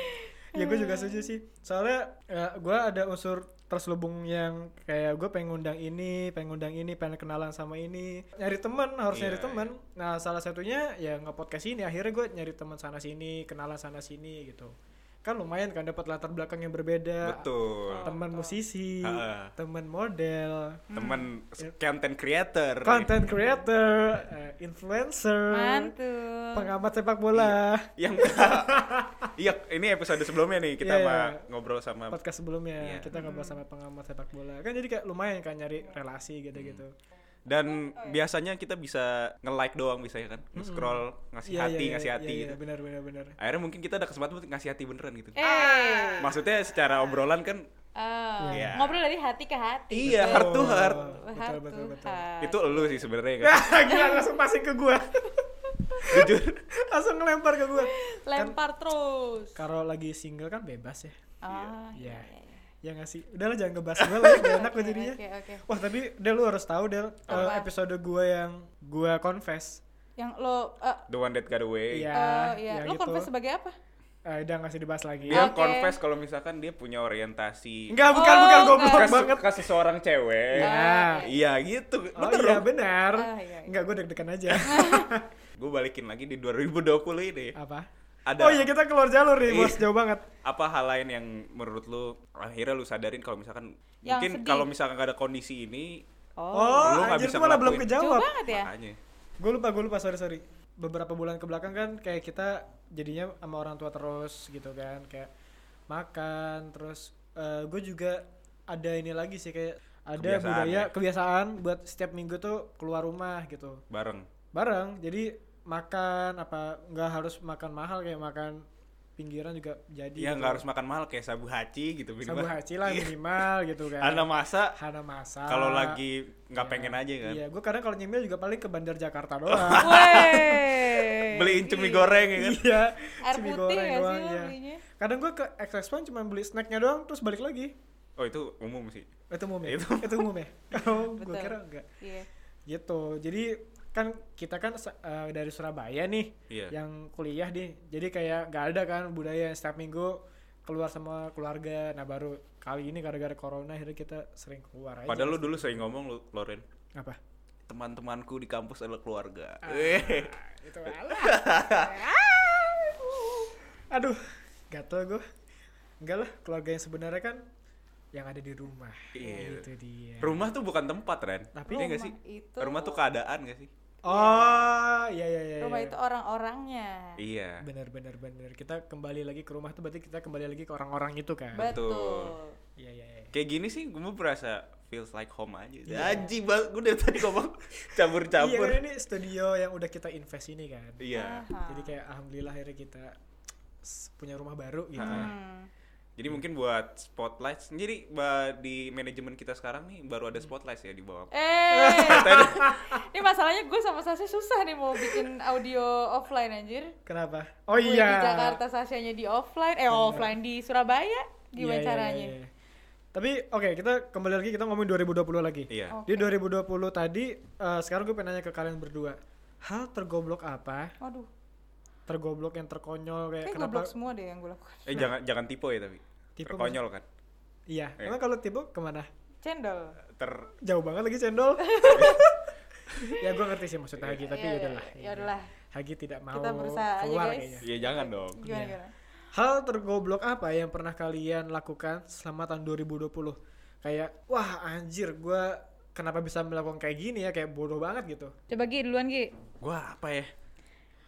Speaker 1: Ya gue juga setuju sih. Soalnya ya, gua ada unsur terselubung yang kayak gue pengen ngundang ini, pengen ngundang ini, pengen kenalan sama ini. Nyari teman, harus
Speaker 2: Iya,
Speaker 1: nyari teman. Nah, salah satunya ya nge-podcast ini. Akhirnya gue nyari teman sana sini, kenalan sana sini gitu. Kan lumayan kan dapat latar belakang yang berbeda.
Speaker 2: Betul.
Speaker 1: Teman musisi,
Speaker 2: Ha-ha.
Speaker 1: teman model,
Speaker 2: Temen content creator.
Speaker 1: Hmm. content creator, eh, influencer,
Speaker 4: Mantul.
Speaker 1: pengamat sepak bola.
Speaker 2: yang iya ini episode sebelumnya nih kita
Speaker 1: Iya,
Speaker 2: sama
Speaker 1: iya.
Speaker 2: ngobrol sama
Speaker 1: podcast sebelumnya
Speaker 2: Iya.
Speaker 1: kita ngobrol sama pengamat sepak bola kan jadi kayak lumayan kan nyari relasi gitu-gitu
Speaker 2: dan
Speaker 1: Oh, iya.
Speaker 2: biasanya kita bisa nge-like doang bisa ya kan nge-scroll ngasih
Speaker 1: Iya,
Speaker 2: hati
Speaker 1: iya, iya,
Speaker 2: ngasih
Speaker 1: iya,
Speaker 2: hati
Speaker 1: iya,
Speaker 2: gitu
Speaker 1: benar benar benar
Speaker 2: akhirnya mungkin kita ada kesempatan buat ngasih hati beneran gitu
Speaker 4: Eh.
Speaker 2: maksudnya secara obrolan kan
Speaker 4: Ah,
Speaker 2: Iya.
Speaker 4: Ngobrol dari hati ke hati.
Speaker 2: iya heart to heart
Speaker 1: betul
Speaker 4: Heart
Speaker 1: betul betul,
Speaker 4: to heart.
Speaker 2: itu elu sih sebenarnya kan
Speaker 1: Ah, gila langsung passing ke gua
Speaker 2: jujur
Speaker 1: langsung ngelempar ke gua
Speaker 4: Lempar
Speaker 2: kan
Speaker 4: terus.
Speaker 1: kalau lagi single kan bebas ya
Speaker 4: Ah,
Speaker 1: Iya.
Speaker 4: iya.
Speaker 1: ya nggak sih udahlah jangan ngebahas gua lah ya, gak enak gua
Speaker 4: Oke,
Speaker 1: jadinya
Speaker 4: Oke, oke.
Speaker 1: wah tapi Del lu harus tahu Del eh,
Speaker 4: Apa?
Speaker 1: episode gua yang gua confess
Speaker 4: Yang lo eh,
Speaker 2: the one that got away
Speaker 1: Iya,
Speaker 4: oh, iya.
Speaker 1: yang
Speaker 4: Lo
Speaker 1: itu.
Speaker 4: confess sebagai apa?
Speaker 1: Eh, udah nggak sih dibahas lagi
Speaker 2: dia
Speaker 4: Oke.
Speaker 2: confess kalau misalkan dia punya orientasi
Speaker 1: enggak bukan
Speaker 4: Oh,
Speaker 1: bukan
Speaker 4: enggak.
Speaker 1: goblok
Speaker 2: ke,
Speaker 1: banget
Speaker 2: ke seseorang cewek
Speaker 1: ya
Speaker 2: iya gitu
Speaker 1: Oh
Speaker 2: bener
Speaker 1: iya benar.
Speaker 4: Ah, iya, iya.
Speaker 1: Enggak gue deg-degan aja.
Speaker 2: gue balikin lagi di 2020 ini
Speaker 1: Apa?
Speaker 2: ada
Speaker 1: Oh iya kita keluar jalur nih,
Speaker 2: Iya.
Speaker 1: Bos. Jauh banget.
Speaker 2: apa hal lain yang menurut lu akhirnya lu sadarin kalau misalkan
Speaker 4: Yang
Speaker 2: mungkin
Speaker 4: sedih.
Speaker 2: kalau misalkan gak ada kondisi ini
Speaker 4: Oh.
Speaker 1: Oh,
Speaker 2: Lu nggak
Speaker 1: anjir
Speaker 2: bisa
Speaker 1: itu malah belum
Speaker 2: ngelakuin.
Speaker 4: Jauh
Speaker 1: kejawab.
Speaker 4: banget ya.
Speaker 2: makanya
Speaker 1: Gue lupa, gue lupa, sorry, sorry. Beberapa bulan ke belakang kan kayak kita jadinya sama orang tua terus gitu kan, kayak makan terus gue juga ada ini lagi sih kayak ada
Speaker 2: Kebiasaan
Speaker 1: budaya
Speaker 2: ya.
Speaker 1: kebiasaan buat setiap minggu tuh keluar rumah gitu
Speaker 2: bareng
Speaker 1: bareng jadi makan apa nggak harus makan mahal kayak makan pinggiran juga jadi
Speaker 2: ya
Speaker 1: gitu.
Speaker 2: nggak harus makan mahal kayak sabu haci gitu
Speaker 1: sabu haci lah minimal gitu kan
Speaker 2: ada masa
Speaker 1: Hana masa
Speaker 2: kalau lagi nggak pengen aja kan
Speaker 1: iya gue kadang kalau nyemil juga paling ke bandar Jakarta doang
Speaker 4: Wey.
Speaker 2: beliin cumi goreng ya kan
Speaker 1: iya
Speaker 4: Air
Speaker 1: cumi
Speaker 4: putih
Speaker 1: goreng
Speaker 4: ya sih
Speaker 1: doang,
Speaker 4: lo
Speaker 1: iya.
Speaker 4: belinya?
Speaker 1: kadang gue ke Express Point cuma beli snacknya doang terus balik lagi
Speaker 2: oh itu umum sih
Speaker 1: itu umum ya
Speaker 2: Itu.
Speaker 1: itu umum ya oh gue
Speaker 4: Betul.
Speaker 1: kira enggak
Speaker 4: Iya.
Speaker 1: gitu jadi kan kita kan se- eh, dari Surabaya nih
Speaker 2: Iya.
Speaker 1: yang kuliah deh jadi kayak nggak ada kan budaya yang setiap minggu keluar sama keluarga nah baru kali ini gara-gara corona akhirnya kita sering keluar aja
Speaker 2: padahal lu dulu sering ngomong lu Loren
Speaker 1: apa
Speaker 2: teman-temanku di kampus adalah keluarga Eh,
Speaker 1: Ah, itu alah aduh gatel gue enggak lah keluarga yang sebenarnya kan yang ada di rumah
Speaker 2: Iya.
Speaker 1: itu dia
Speaker 2: rumah tuh bukan tempat Ren
Speaker 1: Tapi-
Speaker 2: Iya nggak
Speaker 4: Rumah
Speaker 2: sih
Speaker 4: itu-
Speaker 2: rumah tuh keadaan gak sih
Speaker 1: oh iya iya iya
Speaker 4: Rumah
Speaker 1: iya.
Speaker 4: itu orang-orangnya.
Speaker 2: iya
Speaker 1: benar benar benar kita kembali lagi ke rumah tuh berarti kita kembali lagi ke orang-orang itu kan
Speaker 2: Betul.
Speaker 4: Betul.
Speaker 1: iya iya iya
Speaker 2: kayak gini sih gue berasa feels like home aja Anjing banget gue dari tadi ngomong campur-campur
Speaker 1: iya kan ini studio yang udah kita invest ini kan
Speaker 2: Iya.
Speaker 4: Aha.
Speaker 1: jadi kayak alhamdulillah akhirnya kita s- punya rumah baru gitu
Speaker 2: Ah.
Speaker 4: Hmm.
Speaker 2: Jadi mungkin buat spotlight sendiri ba- di manajemen kita sekarang nih baru ada spotlight ya di bawah.
Speaker 4: Eh, ini masalahnya gue sama Sasha susah nih mau bikin audio offline anjir.
Speaker 1: kenapa oh
Speaker 4: Gue
Speaker 1: iya
Speaker 4: Di Jakarta Sashanya di offline, eh offline di Surabaya.
Speaker 1: Iya,
Speaker 4: Gimana
Speaker 1: iya,
Speaker 4: caranya?
Speaker 1: iya, iya. tapi oke kita kembali lagi kita ngomongin 2020 lagi
Speaker 2: Iya.
Speaker 4: Oh.
Speaker 1: di 2020 tadi eh, sekarang gue pengen nanya ke kalian berdua hal tergoblok apa
Speaker 4: Waduh,
Speaker 1: tergoblok yang terkonyol kayak iya. Eh,
Speaker 4: kayak
Speaker 1: kenapa
Speaker 4: goblok semua deh yang gue lakukan.
Speaker 2: Eh jangan jangan tipe ya tapi.
Speaker 1: Tipe
Speaker 2: Terkonyol kan.
Speaker 1: iya
Speaker 2: Eh.
Speaker 1: emang kalau tipe kemana
Speaker 4: Cendol.
Speaker 2: Ter
Speaker 1: jauh banget lagi cendol ya gue ngerti sih maksudnya Hagi tapi Iya.
Speaker 4: Iya,
Speaker 1: ya udahlah
Speaker 4: Ya udahlah.
Speaker 1: Hagi tidak mau
Speaker 4: Kita berusaha aja,
Speaker 1: keluar
Speaker 4: guys.
Speaker 1: kayaknya
Speaker 2: Iya jangan dong.
Speaker 4: Gimana
Speaker 1: Iya.
Speaker 4: gimana?
Speaker 1: hal tergoblok apa yang pernah kalian lakukan selama tahun 2020 kayak wah anjir gue kenapa bisa melakukan kayak gini ya kayak bodoh banget gitu
Speaker 4: Coba Gi duluan Gi.
Speaker 2: Gua apa ya?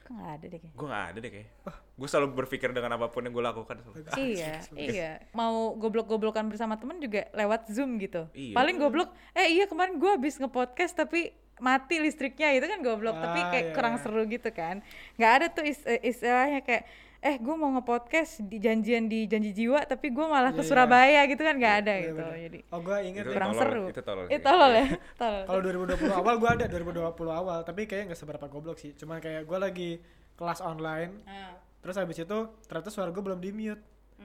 Speaker 4: Kok nggak ada deh kayaknya.
Speaker 2: Gua nggak ada deh kayak. Gua selalu berpikir dengan apapun yang gua lakukan. selalu.
Speaker 4: iya, iya. Mau goblok-goblokan bersama temen juga lewat Zoom gitu.
Speaker 2: Iya.
Speaker 4: Paling goblok, eh iya kemarin gue habis nge-podcast tapi mati listriknya itu kan goblok, tapi
Speaker 1: Ah,
Speaker 4: kayak
Speaker 1: iya,
Speaker 4: kurang
Speaker 1: iya.
Speaker 4: seru gitu kan. nggak ada tuh is- eh, istilahnya kayak eh gue mau nge-podcast di janjian di janji jiwa tapi gue malah
Speaker 1: Iya,
Speaker 4: ke
Speaker 1: iya.
Speaker 4: Surabaya gitu kan nggak ada
Speaker 1: Iya,
Speaker 4: gitu.
Speaker 1: bener.
Speaker 4: Jadi
Speaker 1: oh gue inget
Speaker 2: Itu
Speaker 1: nih,
Speaker 4: kurang
Speaker 2: tolol,
Speaker 4: seru.
Speaker 2: itu tolol
Speaker 4: Eh,
Speaker 2: sih.
Speaker 4: tolol ya, tolol.
Speaker 1: Iya. kalau 2020 awal gue ada 2020 awal tapi kayaknya nggak seberapa goblok sih cuman kayak gue lagi kelas online
Speaker 4: Ah.
Speaker 1: terus habis itu ternyata suara gue belum di mute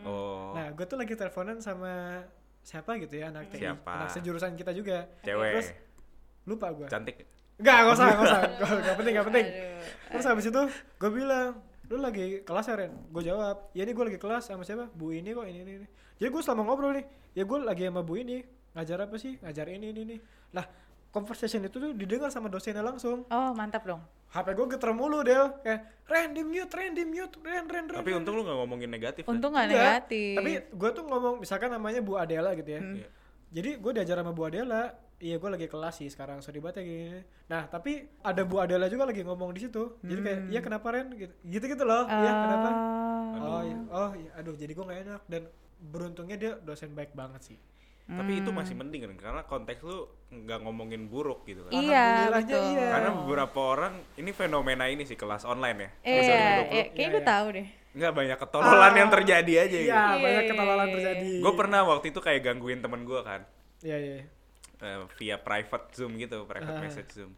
Speaker 2: Oh.
Speaker 1: Nah, gue tuh lagi teleponan sama siapa gitu ya anak TI,
Speaker 2: Siapa?
Speaker 1: anak sejurusan kita juga.
Speaker 2: Cewek.
Speaker 1: Terus lupa gue.
Speaker 2: Cantik.
Speaker 1: Enggak, gak usah, gak usah. Gak, gak penting, gak penting.
Speaker 4: Aduh.
Speaker 1: Terus habis itu gue bilang, lu lagi kelas ya Ren? Gue jawab, ya ini gue lagi kelas sama siapa? Bu ini kok, ini, ini, ini. Jadi gue selama ngobrol nih, ya gue lagi sama Bu ini, ngajar apa sih? Ngajar ini, ini, ini. Lah, conversation itu tuh didengar sama dosennya langsung.
Speaker 4: Oh, mantap dong.
Speaker 1: HP gue geter mulu, Del. Kayak, Ren, di mute, Ren, di mute, Ren, Ren, Ren.
Speaker 2: Tapi untung lu nggak ngomongin negatif. kan?
Speaker 4: Untung nggak
Speaker 1: Enggak,
Speaker 4: negatif.
Speaker 1: Iya.
Speaker 4: Hmm.
Speaker 1: Tapi gue tuh ngomong misalkan namanya Bu Adela gitu ya.
Speaker 2: Iya.
Speaker 1: Jadi gue diajar sama Bu Adela. Iya gue lagi kelas sih sekarang sorry banget ya gini. Nah tapi ada Bu Adela juga lagi ngomong di situ. Jadi kayak
Speaker 4: Hmm.
Speaker 1: iya kenapa Ren gitu gitu loh. Iya kenapa?
Speaker 4: Ah.
Speaker 1: Oh iya. Oh iya. Aduh jadi gue gak enak dan beruntungnya dia dosen baik banget sih.
Speaker 2: Tapi itu
Speaker 4: Hmm.
Speaker 2: masih mending kan karena konteks lu nggak ngomongin buruk gitu kan.
Speaker 4: Iya,
Speaker 1: Alhamdulillahnya
Speaker 4: betul.
Speaker 1: iya.
Speaker 2: Karena beberapa orang ini fenomena ini sih kelas online ya.
Speaker 4: Eh,
Speaker 2: Kelas
Speaker 4: iya, Ah.
Speaker 2: 2020.
Speaker 4: eh, kayaknya
Speaker 1: Iya,
Speaker 4: gue
Speaker 1: iya.
Speaker 4: tahu deh.
Speaker 2: nggak banyak ketololan yang terjadi aja
Speaker 1: Iya
Speaker 2: gitu.
Speaker 1: banyak ketololan terjadi.
Speaker 2: Gue pernah waktu itu kayak gangguin temen gue kan
Speaker 1: Iya iya.
Speaker 2: eh, via private zoom gitu,
Speaker 1: Ah.
Speaker 2: private message zoom.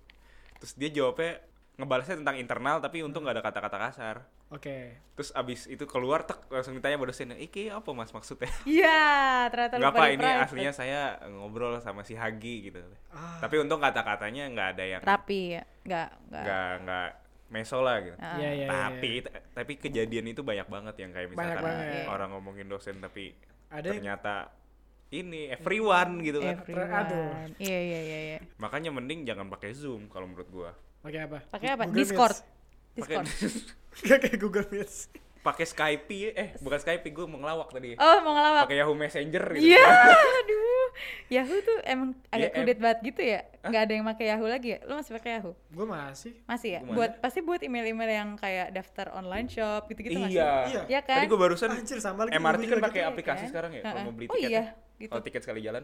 Speaker 2: Terus dia jawabnya ngebalasnya tentang internal tapi untung nggak ada kata-kata kasar.
Speaker 1: Oke.
Speaker 2: Terus abis itu keluar tek langsung ditanya sama dosennya, "Iki apa Mas maksudnya?"
Speaker 4: Iya, ternyata
Speaker 2: Enggak
Speaker 4: lupa
Speaker 2: apa
Speaker 4: di
Speaker 2: ini
Speaker 4: private.
Speaker 2: aslinya saya ngobrol sama si Hagi gitu.
Speaker 1: Ah.
Speaker 2: Tapi untung kata-katanya nggak ada yang
Speaker 4: rapi ya. Enggak, enggak.
Speaker 2: nggak nggak meso lah gitu.
Speaker 4: Ah.
Speaker 1: Iya iya.
Speaker 2: tapi
Speaker 1: iya.
Speaker 2: ta- tapi kejadian itu banyak banget yang kayak
Speaker 1: Banyak
Speaker 2: misalkan
Speaker 4: Iya.
Speaker 1: banget.
Speaker 2: orang ngomongin dosen tapi
Speaker 1: Ada yang-
Speaker 2: ternyata ini everyone gitu kan.
Speaker 4: Everyone.
Speaker 1: Aduh.
Speaker 4: Iya, iya, iya, iya.
Speaker 2: Makanya mending jangan pakai Zoom kalau menurut gua.
Speaker 1: Pakai apa?
Speaker 4: Pakai apa?
Speaker 1: Google
Speaker 4: Discord.
Speaker 1: Meets.
Speaker 2: Pakai
Speaker 4: Discord.
Speaker 1: Gak kayak Google Meets.
Speaker 2: pakai Skype eh bukan Skype gua mengelawak tadi.
Speaker 4: Oh, mau ngelawak.
Speaker 2: Pakai Yahoo Messenger gitu.
Speaker 4: Iya, aduh. Yahoo tuh emang
Speaker 2: Ya,
Speaker 4: agak
Speaker 2: em-
Speaker 4: kudet banget gitu ya nggak ada yang pakai Yahoo lagi ya lu masih pakai Yahoo
Speaker 1: Gue masih.
Speaker 4: masih ya
Speaker 2: Gimana?
Speaker 4: buat pasti buat email-email yang kayak daftar online shop gitu-gitu masih
Speaker 2: iya.
Speaker 1: Iya.
Speaker 4: ya kan
Speaker 2: Tadi gue barusan
Speaker 1: Anjir, sama lagi,
Speaker 2: MRT
Speaker 1: gua
Speaker 2: kan
Speaker 1: juga
Speaker 2: pakai
Speaker 4: gitu.
Speaker 2: aplikasi
Speaker 4: Iya.
Speaker 2: sekarang ya kalau
Speaker 4: Heeh.
Speaker 2: mau beli
Speaker 4: Oh
Speaker 2: tiket. ya.
Speaker 4: iya, gitu.
Speaker 2: Kalau tiket sekali jalan,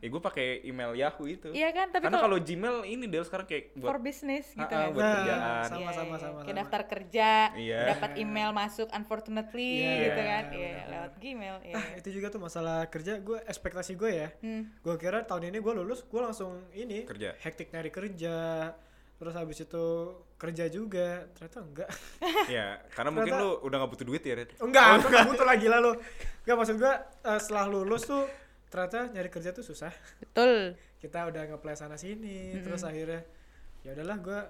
Speaker 2: ya gue pakai email Yahoo itu.
Speaker 4: Hmm. Iya kan, tapi
Speaker 2: Karena
Speaker 4: kalau-
Speaker 2: kalau Gmail ini Del sekarang kayak
Speaker 4: for
Speaker 2: buat
Speaker 4: business gitu
Speaker 2: Ah, ah,
Speaker 4: kan
Speaker 2: buat
Speaker 1: Nah,
Speaker 2: kerjaan.
Speaker 1: sama,
Speaker 4: Iya,
Speaker 1: sama,
Speaker 4: iya.
Speaker 1: sama,
Speaker 4: kayak
Speaker 1: sama.
Speaker 4: daftar kerja
Speaker 2: Iya.
Speaker 4: dapat email masuk unfortunately
Speaker 1: Iya,
Speaker 4: gitu kan iya
Speaker 1: benar-benar.
Speaker 4: lewat Gmail iya
Speaker 1: Ah, itu juga tuh masalah kerja gue ekspektasi gue ya.
Speaker 4: Hmm.
Speaker 1: Gue kira tahun ini gue lulus gue langsung ini
Speaker 2: Kerja.
Speaker 1: hektik nyari kerja. Terus habis itu kerja juga. Ternyata enggak.
Speaker 2: Iya, karena mungkin lu
Speaker 1: Ternyata- Oh,
Speaker 2: udah gak butuh duit ya, Red.
Speaker 1: enggak, aku enggak butuh lagi lah lo. Enggak maksud gue eh, setelah lulus tuh ternyata nyari kerja tuh susah.
Speaker 4: betul
Speaker 1: Kita udah ngeplay sana sini terus akhirnya ya udahlah gue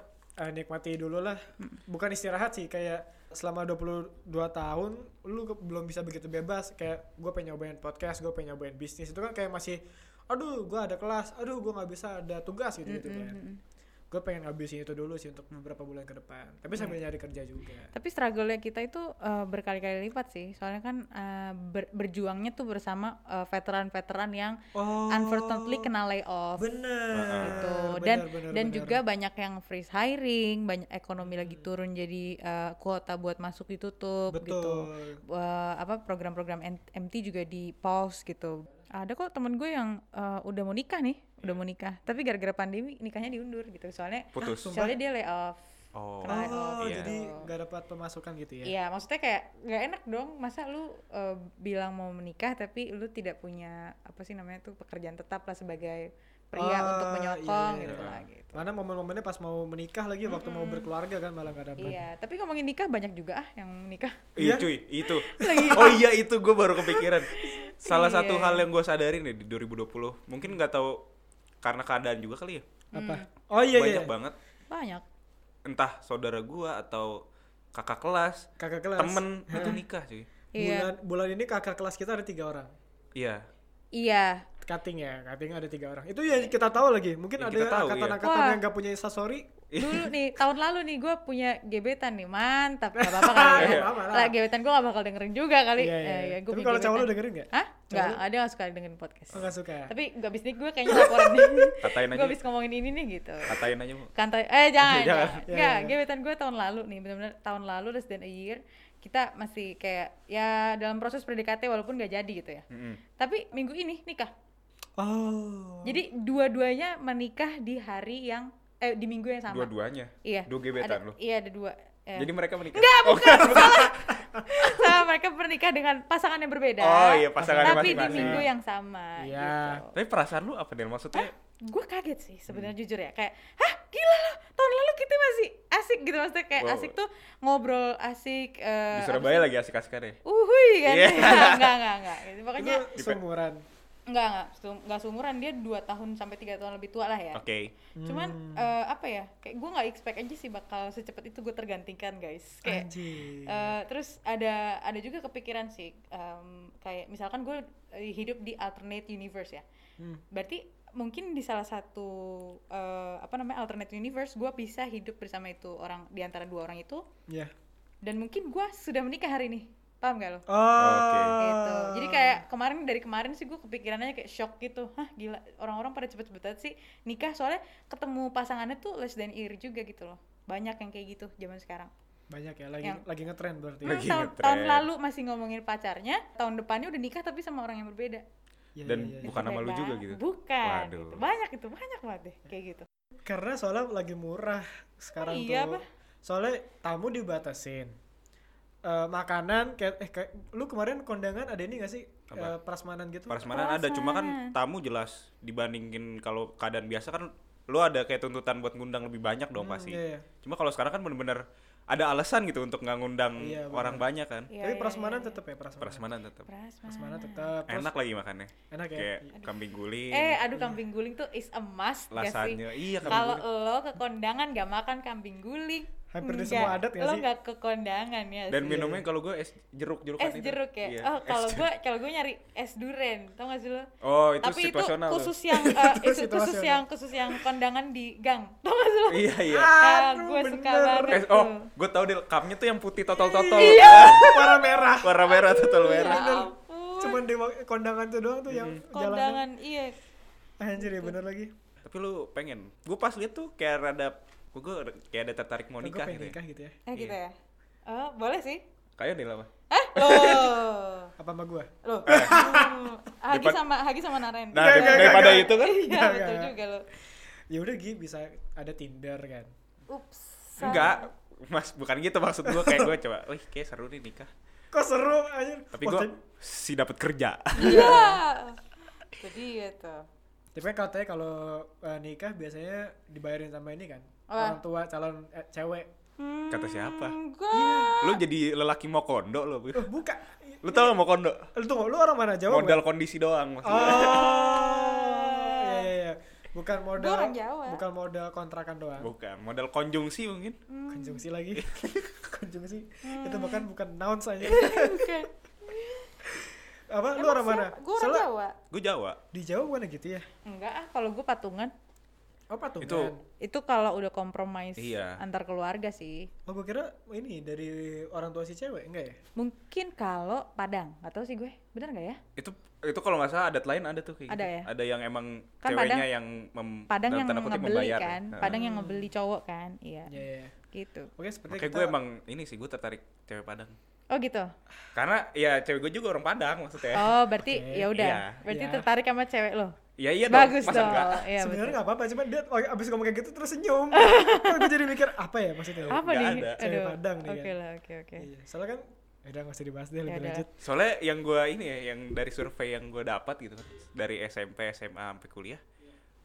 Speaker 1: nikmati dulu lah. Bukan istirahat sih kayak selama 22 tahun lu ke- belum bisa begitu bebas kayak gue pengen nyobain podcast, gue pengen nyobain bisnis itu kan kayak masih aduh gue ada kelas, aduh gue nggak bisa ada tugas gitu gitu kan. Gue pengen ngabisin itu dulu sih untuk beberapa bulan ke depan. Tapi sambil nyari kerja juga.
Speaker 4: tapi struggle-nya kita itu eh, berkali-kali lipat sih soalnya kan eh, ber- berjuangnya tuh bersama eh, veteran-veteran yang
Speaker 1: Oh.
Speaker 4: unfortunately kena layoff
Speaker 1: Bener.
Speaker 4: gitu
Speaker 1: bener,
Speaker 4: dan
Speaker 1: bener,
Speaker 4: dan
Speaker 1: bener.
Speaker 4: juga banyak yang freeze hiring banyak ekonomi lagi turun jadi eh, kuota buat masuk ditutup
Speaker 1: Hmm.
Speaker 4: gitu
Speaker 1: betul.
Speaker 4: Eh, apa program-program N- MT juga di pause gitu ada kok temen gue yang eh, udah mau nikah nih
Speaker 1: Hmm.
Speaker 4: udah mau nikah tapi gara-gara pandemi nikahnya diundur gitu soalnya
Speaker 2: Putus.
Speaker 1: sumpah.
Speaker 4: soalnya dia layoff
Speaker 2: Oh.
Speaker 4: Kena layoff
Speaker 1: Oh,
Speaker 2: Iya.
Speaker 1: jadi nggak dapat pemasukan gitu ya?
Speaker 4: Iya, maksudnya kayak nggak enak dong. Masa lu eh, bilang mau menikah tapi lu tidak punya apa sih namanya tuh pekerjaan tetap lah sebagai pria
Speaker 1: Ah,
Speaker 4: untuk menyokong
Speaker 1: iya,
Speaker 4: gitu
Speaker 1: iya.
Speaker 4: lah gitu.
Speaker 1: Mana momen-momennya pas mau menikah lagi, waktu mau berkeluarga kan malah nggak dapat.
Speaker 4: Iya, tapi ngomongin nikah banyak juga ah yang nikah.
Speaker 1: Iya.
Speaker 2: Iya cuy, itu. oh iya itu gue baru kepikiran. Salah
Speaker 4: Iya.
Speaker 2: satu hal yang gue sadarin ya di 2020, mungkin nggak tahu karena keadaan juga kali ya.
Speaker 1: Apa?
Speaker 4: Mm.
Speaker 1: Oh iya iya.
Speaker 2: Banyak banget
Speaker 4: Banyak.
Speaker 2: entah saudara gue atau kakak kelas,
Speaker 1: Kakak kelas.
Speaker 2: temen itu nikah cuy.
Speaker 4: Iya.
Speaker 1: Bulan bulan ini kakak kelas kita ada tiga orang.
Speaker 2: Iya.
Speaker 4: Iya.
Speaker 1: Cutting ya, cutting ada tiga orang. Itu ya kita tahu lagi. Mungkin
Speaker 2: Yang
Speaker 1: ada
Speaker 2: kita tahu,
Speaker 1: angkatan-angkatan
Speaker 4: iya.
Speaker 1: yang nggak punya instastory.
Speaker 4: Dulu nih tahun lalu nih gue punya gebetan nih mantap gak apa-apa kali
Speaker 1: Iya,
Speaker 4: ya.
Speaker 1: nggak apa-apa lah.
Speaker 4: Lah gebetan gue gak bakal dengerin juga kali.
Speaker 1: Iya,
Speaker 4: Eh,
Speaker 1: iya, iya.
Speaker 4: gua
Speaker 1: Tapi
Speaker 4: punya
Speaker 1: kalau cowok lu
Speaker 4: gebetan.
Speaker 1: dengerin nggak?
Speaker 4: Hah? Nggak,
Speaker 1: Cowok
Speaker 4: ada gak suka dengerin podcast.
Speaker 1: Oh, nggak suka.
Speaker 4: Tapi gak abis nih gue kayaknya laporan nih.
Speaker 2: Katain aja.
Speaker 4: Gue abis ngomongin ini nih gitu.
Speaker 2: Katain aja mau.
Speaker 4: Kantai, eh jangan,
Speaker 2: Jangan.
Speaker 4: jangan.
Speaker 1: Ya,
Speaker 4: Nggak,
Speaker 1: ya, ya.
Speaker 4: gebetan gue tahun lalu nih, benar-benar tahun lalu less than a year kita masih kayak ya dalam proses PDKT walaupun gak jadi gitu ya.
Speaker 2: Mm-mm.
Speaker 4: Tapi minggu ini nikah.
Speaker 1: Oh.
Speaker 4: Jadi dua-duanya menikah di hari yang eh di minggu yang sama.
Speaker 2: Dua-duanya.
Speaker 4: Iya.
Speaker 2: Dua gebetan
Speaker 4: Ada-
Speaker 2: lu.
Speaker 4: Iya, ada dua. Eh,
Speaker 2: Jadi mereka menikah.
Speaker 4: Nggak,
Speaker 2: Oh,
Speaker 4: bukan. salah. Salah, mereka bernikah dengan pasangan yang berbeda.
Speaker 2: Oh, iya, pasangannya
Speaker 4: Tapi di
Speaker 2: masing-masing.
Speaker 4: minggu yang sama
Speaker 1: Iya.
Speaker 4: gitu.
Speaker 2: Tapi perasaan lu apa Del? Maksudnya
Speaker 4: gue kaget sih
Speaker 2: Hmm.
Speaker 4: sebenarnya jujur ya kayak hah gila loh tahun lalu kita masih asik gitu maksudnya kayak
Speaker 2: Wow.
Speaker 4: asik tuh ngobrol asik eh,
Speaker 2: di
Speaker 4: apa
Speaker 2: Surabaya
Speaker 4: sih?
Speaker 2: lagi asik-asikan ya?
Speaker 4: uhuy kan
Speaker 2: Iya.
Speaker 4: enggak enggak enggak enggak gitu.
Speaker 1: Itu
Speaker 4: pokoknya
Speaker 1: seumuran.
Speaker 4: enggak enggak sum- enggak seumuran dia 2 tahun sampai 3 tahun lebih tua lah ya
Speaker 2: Oke. Hmm.
Speaker 4: cuman eh, apa ya kayak gue nggak expect aja sih bakal secepat itu gue tergantikan guys kayak
Speaker 1: Anjir.
Speaker 4: Eh, terus ada ada juga kepikiran sih em, kayak misalkan gue hidup di alternate universe ya
Speaker 1: Hmm.
Speaker 4: berarti mungkin di salah satu eh, apa namanya alternate universe gue bisa hidup bersama itu orang di antara dua orang itu
Speaker 1: Iya.
Speaker 4: dan mungkin gue sudah menikah hari ini paham gak lo
Speaker 1: Oh.
Speaker 2: Oke.
Speaker 4: gitu jadi kayak kemarin dari kemarin sih gue kepikirannya kayak shock gitu hah gila orang-orang pada cepet-cepet banget sih nikah soalnya ketemu pasangannya tuh less than a year juga gitu loh banyak yang kayak gitu zaman sekarang
Speaker 1: Banyak ya lagi
Speaker 4: Yang-
Speaker 1: lagi ngetren berarti.
Speaker 4: Hmm,
Speaker 2: Lagi
Speaker 4: tahun,
Speaker 2: ngetren.
Speaker 4: tahun lalu masih ngomongin pacarnya, tahun depannya udah nikah tapi sama orang yang berbeda.
Speaker 1: Iya,
Speaker 2: Dan
Speaker 1: iya, iya.
Speaker 2: bukan
Speaker 4: Gitu
Speaker 2: nama lu
Speaker 4: kan?
Speaker 2: juga gitu?
Speaker 4: Bukan.
Speaker 2: Waduh.
Speaker 4: gitu. Banyak itu, banyak banget deh kayak gitu.
Speaker 1: Karena soalnya lagi murah sekarang
Speaker 4: Oh, iya,
Speaker 1: tuh.
Speaker 4: Bah.
Speaker 1: Soalnya tamu dibatasin. Eh, makanan kayak eh kayak- lu kemarin kondangan ada ini gak sih? Eh, prasmanan gitu.
Speaker 2: Parasmanan ada cuma kan tamu jelas dibandingin kalau keadaan biasa kan lu ada kayak tuntutan buat ngundang lebih banyak dong
Speaker 4: Hmm,
Speaker 2: pasti.
Speaker 1: iya, iya.
Speaker 2: Cuma kalau sekarang kan bener-bener ada alasan gitu untuk nggak ngundang
Speaker 1: Iya, bener.
Speaker 2: orang banyak kan.
Speaker 4: Iya,
Speaker 1: Tapi
Speaker 4: iya,
Speaker 1: prasmanan
Speaker 4: iya.
Speaker 1: tetep ya prasmanan.
Speaker 2: Perasmanan tetap.
Speaker 4: Prasmanan.
Speaker 1: Prasmanan tetep. Terus-
Speaker 2: Enak lagi makannya.
Speaker 1: Enak ya?
Speaker 2: Kayak kambing guling.
Speaker 4: Eh, aduh kambing guling tuh is a must gak sih?
Speaker 2: Lasagna. Iya, kambing
Speaker 4: Kalau lo ke kondangan gak makan kambing guling.
Speaker 1: Hampir di
Speaker 4: enggak.
Speaker 1: semua adat nggak
Speaker 4: Lo
Speaker 1: sih?
Speaker 4: gak ke kondangan ya
Speaker 2: Dan
Speaker 4: sih?
Speaker 2: minumnya kalau gue es jeruk-jeruk
Speaker 4: es jeruk ya.
Speaker 2: Iya.
Speaker 4: Oh, kalau gue kalau gue nyari es duren, tau gak sih lo?
Speaker 2: Oh, itu
Speaker 4: tapi itu
Speaker 2: situasional lo.
Speaker 4: khusus yang
Speaker 1: Itu
Speaker 4: eh, itu khusus
Speaker 1: situasional.
Speaker 4: yang khusus yang kondangan di gang, tau gak sih lo?
Speaker 2: Iya, iya.
Speaker 4: Ah,
Speaker 1: Aduh,
Speaker 4: gue suka
Speaker 1: bener.
Speaker 4: banget
Speaker 2: Es-
Speaker 4: tuh. Iya.
Speaker 2: oh, gue tau deh cupnya tuh yang putih totol-totol.
Speaker 1: Warna merah.
Speaker 2: Warna merah totol
Speaker 4: Ya
Speaker 2: merah.
Speaker 1: Bener.
Speaker 4: ampun.
Speaker 1: Cuman di kondangan tuh doang tuh yang jalannya.
Speaker 4: kondangan iya
Speaker 1: Anjir ya bener lagi.
Speaker 2: Tapi lu pengen? Gue pas liat tuh kayak rada gue kayak ada tertarik mau
Speaker 1: Gue
Speaker 2: nikah
Speaker 1: pengen
Speaker 2: gitu. Ya.
Speaker 1: nikah gitu ya.
Speaker 4: Eh gitu ya. Oh, boleh sih.
Speaker 2: Kayak nih lama.
Speaker 4: Eh, oh. loh.
Speaker 1: Apa sama gua?
Speaker 4: Loh. Hmm, Hagi
Speaker 2: Eh. Depan-
Speaker 4: sama Hagi sama Naren.
Speaker 2: Nah,
Speaker 1: Enggak, enggak,
Speaker 2: daripada
Speaker 1: enggak.
Speaker 2: itu kan
Speaker 4: Iya,
Speaker 1: Enggak,
Speaker 4: betul
Speaker 1: enggak.
Speaker 4: juga lo.
Speaker 1: Ya udah Gi bisa ada Tinder kan.
Speaker 4: Ups. salah.
Speaker 2: enggak. Mas, bukan gitu maksud gue kayak gue coba, wih kayak seru nih nikah.
Speaker 1: Kok seru anjir.
Speaker 2: Tapi
Speaker 1: Wah,
Speaker 2: gue si dapat kerja.
Speaker 4: Iya. Jadi ya tuh.
Speaker 1: Tapi kan katanya kalau eh, nikah biasanya dibayarin sama ini kan.
Speaker 4: Apa?
Speaker 1: Orang tua calon eh, cewek.
Speaker 4: Hmm,
Speaker 2: Kata siapa?
Speaker 4: Enggak.
Speaker 2: Lu jadi lelaki mau kondo lo.
Speaker 1: Eh, buka.
Speaker 2: Lu tau gak mau kondo?
Speaker 1: Lu tunggu, lu orang mana Jawa?
Speaker 2: Modal kondisi doang
Speaker 1: Oh.
Speaker 2: maksudnya.
Speaker 1: Iya iya iya. Bukan modal
Speaker 4: Gua orang Jawa.
Speaker 1: bukan modal kontrakan doang.
Speaker 2: Bukan, modal konjungsi mungkin.
Speaker 4: Hmm.
Speaker 1: Konjungsi lagi. Konjungsi. Itu bahkan bukan noun saja.
Speaker 4: Bukan.
Speaker 1: Apa lu orang mana?
Speaker 4: Gue orang
Speaker 1: Soalnya
Speaker 4: Jawa.
Speaker 2: Gue Jawa.
Speaker 1: di Jawa bukan gitu ya?
Speaker 4: Enggak ah, kalau gue patungan.
Speaker 1: Oh patungan.
Speaker 2: Itu-
Speaker 4: Itu kalau udah kompromis
Speaker 2: Iya.
Speaker 4: antar keluarga sih.
Speaker 1: Oh gue kira ini dari orang tua si cewek enggak ya?
Speaker 4: Mungkin kalau Padang, nggak tahu sih gue. Bener nggak ya?
Speaker 2: Itu itu kalau nggak salah adat lain ada tuh kayak
Speaker 4: Ada
Speaker 2: gitu.
Speaker 4: ya?
Speaker 2: Ada yang emang
Speaker 4: Kan
Speaker 2: ceweknya
Speaker 4: Padang-
Speaker 2: yang mem,
Speaker 4: Padang
Speaker 2: dalam
Speaker 4: yang
Speaker 2: tanda kutip
Speaker 4: ngebeli
Speaker 2: membayar. ya?
Speaker 4: kan,
Speaker 2: Heeh.
Speaker 4: Padang yang ngebeli cowok kan, iya.
Speaker 1: Iya iya. iya.
Speaker 4: Gitu.
Speaker 1: Oke seperti
Speaker 2: Makanya
Speaker 1: kita.
Speaker 2: gue emang ini sih gue tertarik cewek Padang.
Speaker 4: Oh gitu.
Speaker 2: Karena ya cewek gue juga orang Padang maksudnya.
Speaker 4: Oh berarti
Speaker 1: Oke,
Speaker 4: ya udah.
Speaker 2: iya,
Speaker 4: Berarti
Speaker 1: iya.
Speaker 4: tertarik sama cewek lo.
Speaker 2: Ya iya dong,
Speaker 4: Bagus
Speaker 2: masa
Speaker 4: dong.
Speaker 2: enggak?
Speaker 4: Iya,
Speaker 1: Sebenarnya
Speaker 4: betul.
Speaker 1: nggak apa-apa cuman dia oh, abis ngomong kayak gitu terus senyum. Terus gue jadi mikir apa ya maksudnya?
Speaker 4: Apa
Speaker 2: Nggak
Speaker 4: nih?
Speaker 2: ada.
Speaker 1: Cewek Padang nih
Speaker 4: Oke
Speaker 1: kan.
Speaker 4: lah, oke oke.
Speaker 1: Iya. Soalnya kan ya udah nggak usah dibahas deh lebih
Speaker 4: udah.
Speaker 1: lanjut.
Speaker 2: Soalnya yang gue ini ya, yang dari survei yang gue dapat gitu kan, dari SMP, SMA sampai kuliah,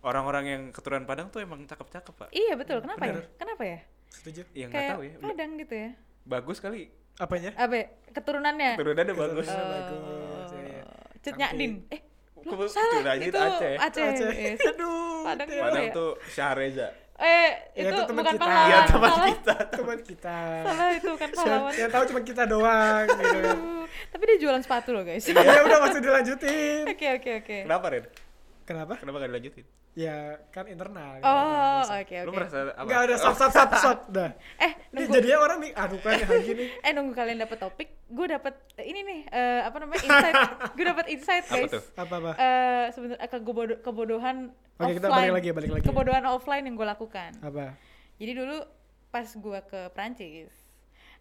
Speaker 2: orang-orang yang keturunan Padang tuh emang cakep-cakep pak.
Speaker 4: Iya betul. Kenapa ya?
Speaker 1: bener.
Speaker 4: Kenapa ya?
Speaker 1: Setuju?
Speaker 2: Yang nggak
Speaker 4: Kayak
Speaker 2: tahu ya,
Speaker 4: Padang gitu ya.
Speaker 2: bagus kali
Speaker 1: Apanya?
Speaker 4: Apa? ya? Keturunannya.
Speaker 2: keturunannya bagus.
Speaker 1: Keturunannya bagus. iya, iya.
Speaker 4: Cutnya
Speaker 1: Cantik.
Speaker 4: Din. Eh, lu
Speaker 2: Kebetulan
Speaker 4: salah.
Speaker 2: Din
Speaker 4: Itu
Speaker 2: Aceh.
Speaker 4: Aceh.
Speaker 1: Aceh.
Speaker 4: Yes.
Speaker 1: Aduh.
Speaker 4: Padang
Speaker 1: Teo.
Speaker 4: gimana
Speaker 2: Padang
Speaker 4: ya?
Speaker 2: tuh Syahreza.
Speaker 4: Eh,
Speaker 1: Ya,
Speaker 4: itu
Speaker 1: itu teman
Speaker 4: bukan
Speaker 1: kita.
Speaker 4: pahlawan.
Speaker 2: Iya teman
Speaker 4: salah.
Speaker 2: kita.
Speaker 1: Teman kita.
Speaker 4: Salah itu kan
Speaker 1: Yang,
Speaker 4: pahlawan.
Speaker 1: yang tahu cuma kita doang gitu kan.
Speaker 4: Aduh, Tapi dia jualan sepatu loh, guys.
Speaker 1: Ya udah nggak usah dilanjutin.
Speaker 4: Oke, oke, oke.
Speaker 2: Kenapa Ren?
Speaker 1: Kenapa?
Speaker 2: Kenapa gak dilanjutin?
Speaker 1: Ya kan internal.
Speaker 4: Oh, oke,
Speaker 2: Lu
Speaker 4: oke.
Speaker 2: merasa apa?
Speaker 1: Enggak ada stop stop stop stop dah.
Speaker 4: Eh,
Speaker 1: Ini
Speaker 4: nunggu
Speaker 1: jadinya orang nih aduh kan lagi nih.
Speaker 4: eh nunggu kalian dapet topik, gue dapet eh, ini nih eh, apa namanya insight, gue dapet insight
Speaker 2: Apa
Speaker 4: guys.
Speaker 2: tuh?
Speaker 1: Apa apa?
Speaker 4: Eh sebenarnya kebodo- kebodohan
Speaker 1: Oke,
Speaker 4: offline.
Speaker 1: kita balik lagi ya, balik lagi ya.
Speaker 4: Kebodohan offline yang gue lakukan.
Speaker 1: Apa?
Speaker 4: Jadi dulu pas gue ke Prancis,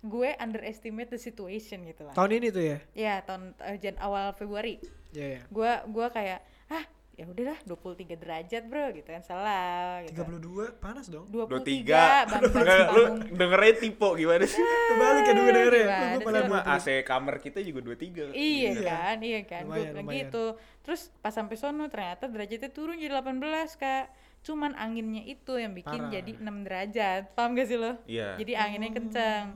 Speaker 4: gue underestimate the situation gitu lah.
Speaker 1: Tahun ini tuh ya.
Speaker 4: Ya tahun eh, Jan awal Februari.
Speaker 1: Iya ya.
Speaker 4: Gue gua kayak ah ya udahlah 23 derajat bro gitu kan salah gitu.
Speaker 1: 32 panas dong.
Speaker 4: 23 bang Iya,
Speaker 2: Enggak, lu dengerin tipe gimana sih?
Speaker 1: Kebalik ya dulu denger ya.
Speaker 4: Gimana
Speaker 1: Gua
Speaker 4: sih?
Speaker 1: malah
Speaker 2: Sama
Speaker 1: dua puluh.
Speaker 2: AC kamar kita juga 23
Speaker 4: Iya
Speaker 1: Iya.
Speaker 4: kan, iya kan. Gue
Speaker 1: Lumayan,
Speaker 4: bilang
Speaker 1: lumayan.
Speaker 4: gitu. Terus pas sampai sono ternyata derajatnya turun jadi 18, Kak. Cuman anginnya itu yang bikin
Speaker 1: Parah.
Speaker 4: jadi 6 derajat. Paham gak sih lo?
Speaker 2: Iya.
Speaker 4: Jadi anginnya kenceng.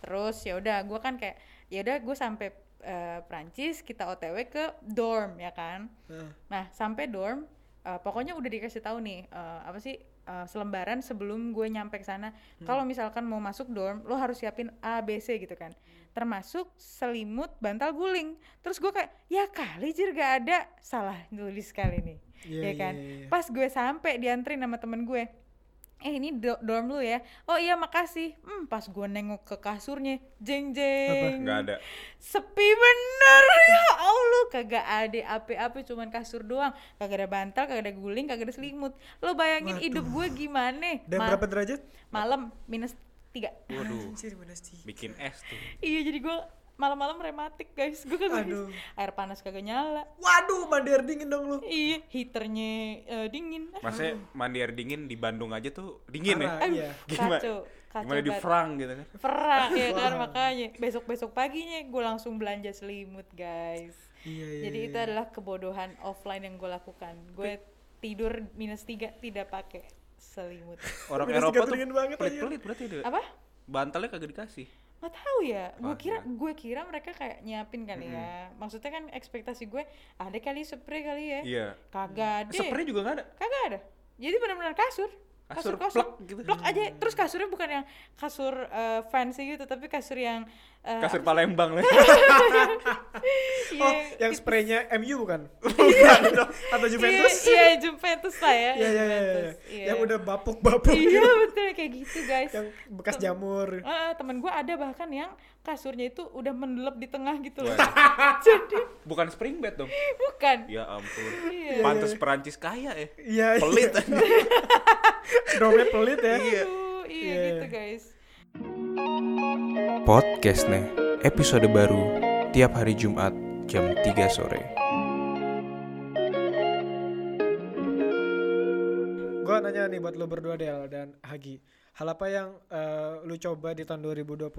Speaker 4: Terus ya udah gua kan kayak ya udah gue sampai eh, Prancis kita OTW ke dorm ya kan.
Speaker 1: Nah,
Speaker 4: Nah, sampai dorm eh, pokoknya udah dikasih tahu nih eh, apa sih eh, selembaran sebelum gue nyampe ke sana
Speaker 1: Hmm.
Speaker 4: kalau misalkan mau masuk dorm lo harus siapin A B C gitu kan termasuk selimut bantal guling terus gue kayak ya kali jir gak ada salah nulis kali nih
Speaker 1: Iya,
Speaker 4: ya kan
Speaker 1: iya, iya, iya.
Speaker 4: pas gue sampai diantri sama temen gue eh ini do- dorm lu ya oh iya makasih hmm pas gue nengok ke kasurnya jeng jeng
Speaker 2: Enggak ada.
Speaker 4: sepi bener ya Allah kagak ada apa-apa cuman kasur doang kagak ada bantal kagak ada guling kagak ada selimut lo bayangin
Speaker 1: Waduh.
Speaker 4: hidup gue gimana
Speaker 1: Dan
Speaker 4: Ma-
Speaker 1: berapa derajat?
Speaker 4: malam minus tiga
Speaker 2: Waduh,
Speaker 1: Anjir minus tiga.
Speaker 2: bikin es tuh.
Speaker 4: iya jadi gue malam-malam rematik guys gue kagak
Speaker 1: Aduh.
Speaker 4: bisa. air panas kagak nyala
Speaker 1: Waduh, mandi air dingin dong lu.
Speaker 4: iya heaternya eh, dingin Ah,
Speaker 2: Maksudnya mandi air dingin di Bandung aja tuh dingin
Speaker 1: Hmm. Parah,
Speaker 2: ya?
Speaker 1: iya.
Speaker 2: Gimana?
Speaker 4: kacau kacau
Speaker 2: Gimana di
Speaker 4: banget.
Speaker 2: Frank gitu kan?
Speaker 4: perang ya kan
Speaker 1: Perang.
Speaker 4: makanya besok-besok paginya gue langsung belanja selimut guys
Speaker 1: Iya, iya.
Speaker 4: Jadi itu
Speaker 1: iya.
Speaker 4: adalah kebodohan offline yang gue lakukan. Gue tidur minus tiga tidak pakai selimut.
Speaker 2: Orang
Speaker 1: Minus
Speaker 2: Eropa
Speaker 1: tiga
Speaker 2: tuh
Speaker 1: dingin banget aja.
Speaker 2: pelit-pelit berarti dia.
Speaker 4: Apa?
Speaker 2: Bantalnya kagak dikasih.
Speaker 4: Nggak tahu ya. Gue
Speaker 2: Wah,
Speaker 4: kira gue kira mereka kayak nyiapin kali ya. Maksudnya kan ekspektasi gue ada kali spray kali ya.
Speaker 2: Iya.
Speaker 4: Kagak ada.
Speaker 2: Spray juga enggak ada.
Speaker 4: Kagak ada. Jadi benar-benar kasur.
Speaker 2: Kasur
Speaker 4: kosong.
Speaker 2: plek gitu.
Speaker 4: Plek aja. Terus kasurnya bukan yang kasur eh, iya, fancy gitu, tapi kasur yang eh,
Speaker 2: Kasur Palembang lah.
Speaker 1: Oh, yang spraynya MU bukan?
Speaker 2: Bukan dong.
Speaker 1: Atau Juventus?
Speaker 4: Iya, iya, Juventus lah ya.
Speaker 1: Iya, iya, iya.
Speaker 4: Juventus,
Speaker 1: iya.
Speaker 4: iya.
Speaker 1: Yang udah bapuk-bapuk
Speaker 4: Iya,
Speaker 1: gitu.
Speaker 4: betul kayak gitu, guys.
Speaker 1: Yang bekas jamur.
Speaker 4: Ah, ah, temen gue ada bahkan yang kasurnya itu udah mendelep di tengah gitu loh.
Speaker 2: Waduh.
Speaker 4: Jadi
Speaker 2: Bukan spring bed dong.
Speaker 4: bukan.
Speaker 2: Ya ampun.
Speaker 4: Iya.
Speaker 2: Pantes Perancis kaya ya.
Speaker 1: Iya, iya.
Speaker 2: Pelit.
Speaker 1: Dompet pelit ya.
Speaker 4: Aduh, iya
Speaker 1: Iya.
Speaker 4: gitu, guys.
Speaker 2: Podcast nih. Episode baru tiap hari Jumat jam 3 sore.
Speaker 1: Gua nanya nih buat lo berdua Del dan Hagi. Hal apa yang eh, lu coba di tahun 2020?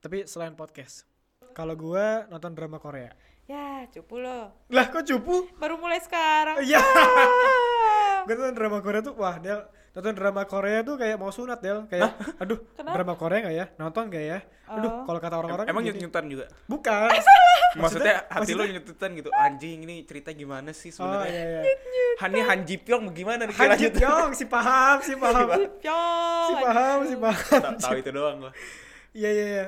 Speaker 1: Tapi selain podcast. Kalau gua nonton drama Korea.
Speaker 4: Ya, cupu lo.
Speaker 1: Lah kok cupu?
Speaker 4: Baru mulai sekarang.
Speaker 1: Iya.
Speaker 4: Ah.
Speaker 1: Gue nonton drama Korea tuh wah Del nonton drama Korea tuh kayak mau sunat Del kayak aduh
Speaker 4: Kenapa?
Speaker 1: drama Korea nggak ya nonton gak ya aduh
Speaker 4: Oh. Eh,
Speaker 1: kalau kata orang-orang
Speaker 2: Emang
Speaker 1: gini.
Speaker 2: nyut-nyutan juga.
Speaker 1: bukan
Speaker 2: Maksudnya, hati
Speaker 1: maksudnya-
Speaker 2: lu nyut-nyutan gitu. Anjing ini cerita gimana sih
Speaker 1: oh
Speaker 2: sebenarnya?
Speaker 1: iya iya
Speaker 2: Hani Han Ji Pyong mau gimana nih
Speaker 1: Han Ji
Speaker 2: lanjut?
Speaker 1: Pyong si paham si paham
Speaker 4: Pyong,
Speaker 1: si paham
Speaker 4: aduh.
Speaker 1: si paham
Speaker 2: Ta- Tahu itu doang gua.
Speaker 1: iya iya iya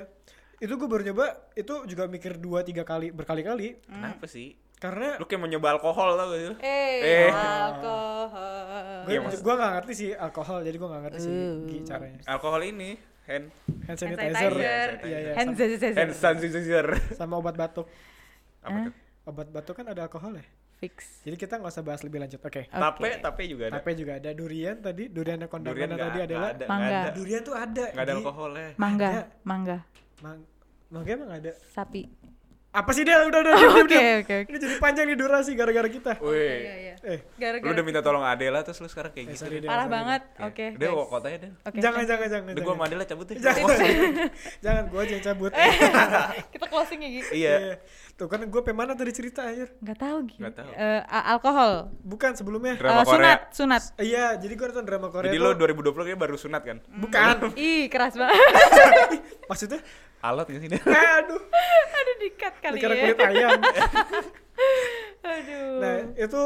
Speaker 1: itu gue baru nyoba itu juga mikir dua tiga kali berkali-kali
Speaker 2: Kenapa sih?
Speaker 1: karena
Speaker 2: Lu kayak mau nyoba alkohol tau gak sih lu?
Speaker 4: Eh,
Speaker 2: Eh.
Speaker 4: alkohol.
Speaker 1: gue
Speaker 2: Iya, maksud-
Speaker 1: gue nggak ngerti sih alkohol jadi gue nggak ngerti sih
Speaker 4: Uh.
Speaker 1: Gi, caranya
Speaker 2: Alkohol ini hand
Speaker 1: hand sanitizer
Speaker 4: sanitizer.
Speaker 1: iya iya
Speaker 4: Hand
Speaker 1: sama,
Speaker 4: sanitizer.
Speaker 2: hand sanitizer.
Speaker 1: sama obat batuk
Speaker 2: Apa
Speaker 4: Hah?
Speaker 2: tuh?
Speaker 1: obat batuk kan ada alkohol ya
Speaker 4: Fix.
Speaker 1: jadi kita nggak usah bahas lebih lanjut oke
Speaker 4: Oke.
Speaker 2: Tape, tape juga ada.
Speaker 1: Tapi juga ada durian tadi, durian yang kondang
Speaker 2: Durian
Speaker 1: tadi adalah
Speaker 2: nggak- nggak ada,
Speaker 4: Mangga.
Speaker 2: nggak ada.
Speaker 1: Ah, durian tuh ada.
Speaker 2: Nggak ada ya.
Speaker 1: Gi.
Speaker 2: alkoholnya.
Speaker 4: Mangga,
Speaker 1: Ada.
Speaker 4: mangga,
Speaker 1: Mang mangga emang ada.
Speaker 4: sapi.
Speaker 1: Apa sih Del? Udah udah diam, diam,
Speaker 4: Oke,
Speaker 1: diam.
Speaker 4: oke, oke.
Speaker 1: Ini jadi panjang nih durasi gara-gara kita.
Speaker 2: Wih.
Speaker 4: iya.
Speaker 1: Eh,
Speaker 2: Lu udah minta tolong Adela terus lu sekarang kayak gitu.
Speaker 1: sorry Del,
Speaker 4: parah
Speaker 1: sorry,
Speaker 4: banget.
Speaker 2: Ya.
Speaker 4: Oke.
Speaker 2: Udah
Speaker 4: guys.
Speaker 2: gua kotanya deh.
Speaker 4: Oke.
Speaker 1: Del. Jangan, jangan, jangan.
Speaker 2: Udah gua sama Adela cabut deh. Iya.
Speaker 1: Jangan,
Speaker 2: Wah,
Speaker 1: jangan. jangan, gua aja yang cabut.
Speaker 4: Eh. Kita closing ya, Gi.
Speaker 2: Iya.
Speaker 1: Iya. Tuh kan gue pemana tadi cerita anjir.
Speaker 4: Enggak tahu, Gi.
Speaker 2: Nggak tahu.
Speaker 4: Eh, a- alkohol.
Speaker 1: Bukan sebelumnya.
Speaker 2: Drama
Speaker 4: Eh,
Speaker 2: Korea.
Speaker 4: sunat, sunat.
Speaker 1: Iya, jadi gue nonton drama Korea
Speaker 2: Jadi lu
Speaker 1: tuh.
Speaker 2: 2020 kayak baru sunat kan?
Speaker 1: Bukan.
Speaker 4: Ih, keras banget.
Speaker 1: Maksudnya,
Speaker 2: Alat gak sih ini?
Speaker 1: aduh,
Speaker 4: Aduh, dikat kali
Speaker 1: dikira
Speaker 4: ya.
Speaker 1: kulit ayam.
Speaker 4: Aduh.
Speaker 1: Nah itu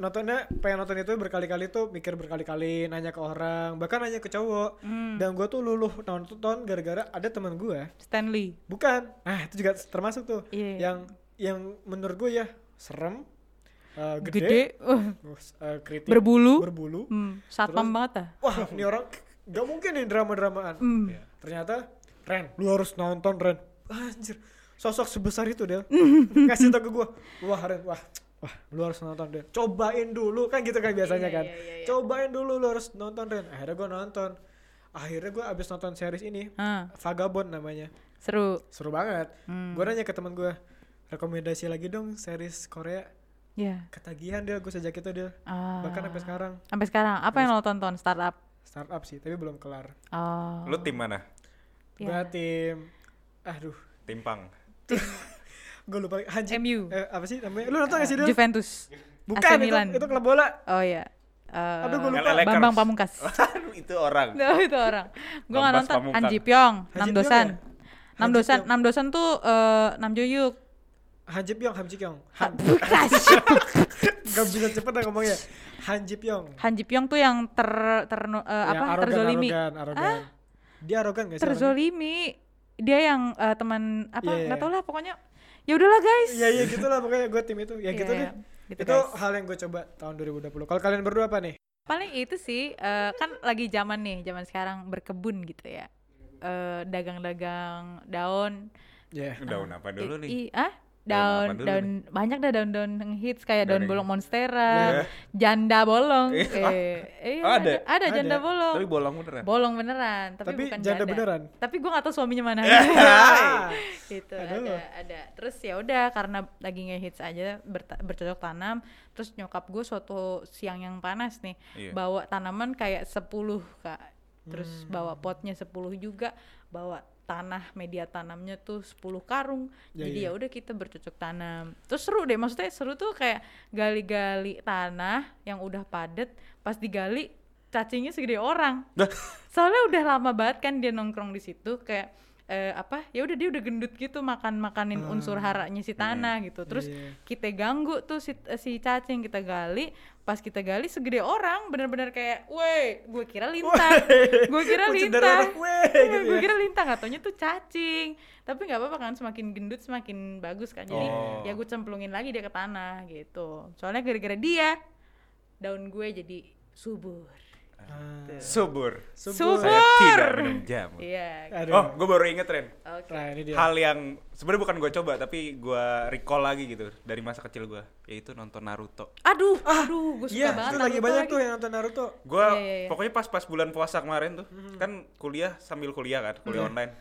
Speaker 1: nontonnya pengen nonton itu berkali-kali tuh mikir berkali-kali nanya ke orang bahkan nanya ke cowok
Speaker 4: Hmm.
Speaker 1: dan gue tuh luluh nonton gara-gara ada teman gue
Speaker 4: Stanley.
Speaker 1: bukan nah itu juga termasuk tuh
Speaker 4: Iya.
Speaker 1: yang yang menurut gue ya serem eh,
Speaker 4: Gede,
Speaker 1: gede,
Speaker 4: uh,
Speaker 1: terus, eh, kritik
Speaker 4: berbulu.
Speaker 1: berbulu
Speaker 4: Hmm, satpam
Speaker 1: Terus-
Speaker 4: banget ah.
Speaker 1: wah ini orang gak mungkin nih drama-dramaan
Speaker 4: Hmm.
Speaker 1: ternyata Ren lu harus nonton Ren anjir sosok sebesar itu Del ngasih tau ke gue wah Ren wah wah lu harus nonton Del cobain dulu kan gitu kan biasanya
Speaker 4: Iya,
Speaker 1: kan
Speaker 4: iya, iya, iya.
Speaker 1: cobain dulu lu harus nonton Ren akhirnya gue nonton akhirnya gue abis nonton series ini
Speaker 4: Ah,
Speaker 1: Vagabond namanya
Speaker 4: seru.
Speaker 1: seru banget
Speaker 4: Hmm.
Speaker 1: gue nanya ke teman gue rekomendasi lagi dong series Korea
Speaker 4: Ya.
Speaker 1: ketagihan Del gue sejak itu Del
Speaker 4: Ah.
Speaker 1: bahkan sampai sekarang
Speaker 4: Sampai sekarang apa yang lo tonton startup?
Speaker 1: startup sih tapi belum kelar
Speaker 4: Oh.
Speaker 2: Lu tim mana?
Speaker 4: Iya.
Speaker 1: Berarti aduh
Speaker 2: Tim Pang.
Speaker 1: gue lupa Hanji
Speaker 4: MU.
Speaker 1: eh, apa sih namanya lu nonton gak sih Del
Speaker 4: Juventus.
Speaker 1: Bukan
Speaker 4: AC
Speaker 1: itu,
Speaker 4: Milan.
Speaker 1: itu klub bola.
Speaker 4: Oh ya. Eh,
Speaker 1: Aduh, gua lupa. Oh.
Speaker 2: LA Lakers.
Speaker 4: Bambang Pamungkas.
Speaker 2: Aduh, itu orang.
Speaker 4: No, itu orang. Gue nggak
Speaker 2: Bambang
Speaker 4: nonton
Speaker 2: Pamungkas.
Speaker 4: Anji Pyong,
Speaker 1: Anji
Speaker 4: Nam
Speaker 1: Pyong
Speaker 4: Dosan.
Speaker 1: ya?
Speaker 4: Nam
Speaker 1: Anji
Speaker 4: Dosan,
Speaker 1: Pyong.
Speaker 4: Nam Dosan tuh eh, Nam Joyuk.
Speaker 1: Han Ji Pyong, Han Ji Pyong. Han,
Speaker 4: Bukan.
Speaker 1: gak bisa cepet dah ngomongnya. Han Ji Pyong.
Speaker 4: Han Ji Pyong tuh yang ter ter eh, apa?
Speaker 1: arogan,
Speaker 4: terzolimi. Ah?
Speaker 1: Arogan, arogan. Dia arogan gak sih? orangnya?
Speaker 4: Terzolimi. Dia yang eh, teman apa?
Speaker 1: Iya, iya,
Speaker 4: Nggak
Speaker 1: iya.
Speaker 4: tau lah pokoknya. Ya udahlah guys.
Speaker 1: Iya iya gitu lah pokoknya gue tim itu. Ya
Speaker 4: Iya,
Speaker 1: gitu
Speaker 4: iya.
Speaker 1: deh.
Speaker 4: Gitu,
Speaker 1: itu
Speaker 4: guys.
Speaker 1: hal yang gue coba tahun 2020. Kalau kalian berdua apa nih?
Speaker 4: Paling itu sih eh, kan lagi zaman nih, zaman sekarang berkebun gitu ya. Eh, dagang-dagang daun
Speaker 1: Iya.
Speaker 2: Daun apa dulu
Speaker 4: I-
Speaker 2: nih?
Speaker 4: i- ah?
Speaker 2: Daun
Speaker 4: Daun,
Speaker 2: apa dulu
Speaker 4: daun, banyak dah daun-daun yang hits kayak daun
Speaker 2: Daun yang-
Speaker 4: bolong monstera, janda bolong,
Speaker 2: Iya.
Speaker 4: eh, iya,
Speaker 2: Ah,
Speaker 4: ada,
Speaker 2: ada?
Speaker 4: ada janda
Speaker 1: Ada.
Speaker 4: bolong,
Speaker 2: Tapi bolong beneran.
Speaker 4: bolong beneran, tapi,
Speaker 1: Tapi
Speaker 4: bukan
Speaker 1: janda beneran?
Speaker 4: Tapi gue gak tahu suaminya mana.
Speaker 2: Iya.
Speaker 1: Ah.
Speaker 4: gitu
Speaker 1: Aduh.
Speaker 4: ada ada terus ya udah karena lagi ngehits aja berta- bercocok tanam terus nyokap gue suatu siang yang panas nih
Speaker 2: Iya.
Speaker 4: bawa tanaman kayak 10 kak terus
Speaker 1: Hmm.
Speaker 4: bawa potnya 10 juga bawa tanah media tanamnya tuh 10 karung
Speaker 1: Ya, iya.
Speaker 4: jadi ya udah kita bercocok tanam terus seru deh maksudnya seru tuh kayak gali-gali tanah yang udah padet pas digali cacingnya segede orang
Speaker 2: Dah.
Speaker 4: soalnya udah lama banget kan dia nongkrong di situ kayak eh, apa ya udah dia udah gendut gitu makan makanin unsur haranya si tanah gitu terus
Speaker 1: Hmm. Iya.
Speaker 4: kita ganggu tuh si, eh, si cacing kita gali pas kita gali segede orang bener-bener kayak woi gue kira lintang gue kira
Speaker 1: Kucing dari
Speaker 4: lintang
Speaker 1: anak gue, gitu
Speaker 4: gue
Speaker 1: ya.
Speaker 4: kira lintang katanya tuh cacing tapi nggak apa-apa kan semakin gendut semakin bagus kan jadi
Speaker 2: Oh.
Speaker 4: ya gue cemplungin lagi dia ke tanah gitu soalnya gara-gara dia daun gue jadi subur
Speaker 1: Ah.
Speaker 2: Subur.
Speaker 4: subur,
Speaker 2: Saya tidak minum jamu.
Speaker 4: iya
Speaker 1: Aduh.
Speaker 2: Oh, gue baru inget Ren.
Speaker 4: oke
Speaker 1: Nah, ini dia.
Speaker 2: Hal yang sebenarnya bukan gue coba tapi gue recall lagi gitu dari masa kecil gue, yaitu nonton Naruto.
Speaker 4: aduh
Speaker 2: Ah,
Speaker 4: aduh gue suka
Speaker 1: Iya,
Speaker 4: banget
Speaker 1: itu lagi
Speaker 4: Naruto
Speaker 1: banyak
Speaker 4: lagi.
Speaker 1: tuh yang nonton Naruto.
Speaker 2: Gue
Speaker 4: Iya, iya, Mhm. iya.
Speaker 2: pokoknya pas-pas bulan puasa kemarin tuh, kan kuliah sambil kuliah kan,
Speaker 4: Iya.
Speaker 2: kuliah online.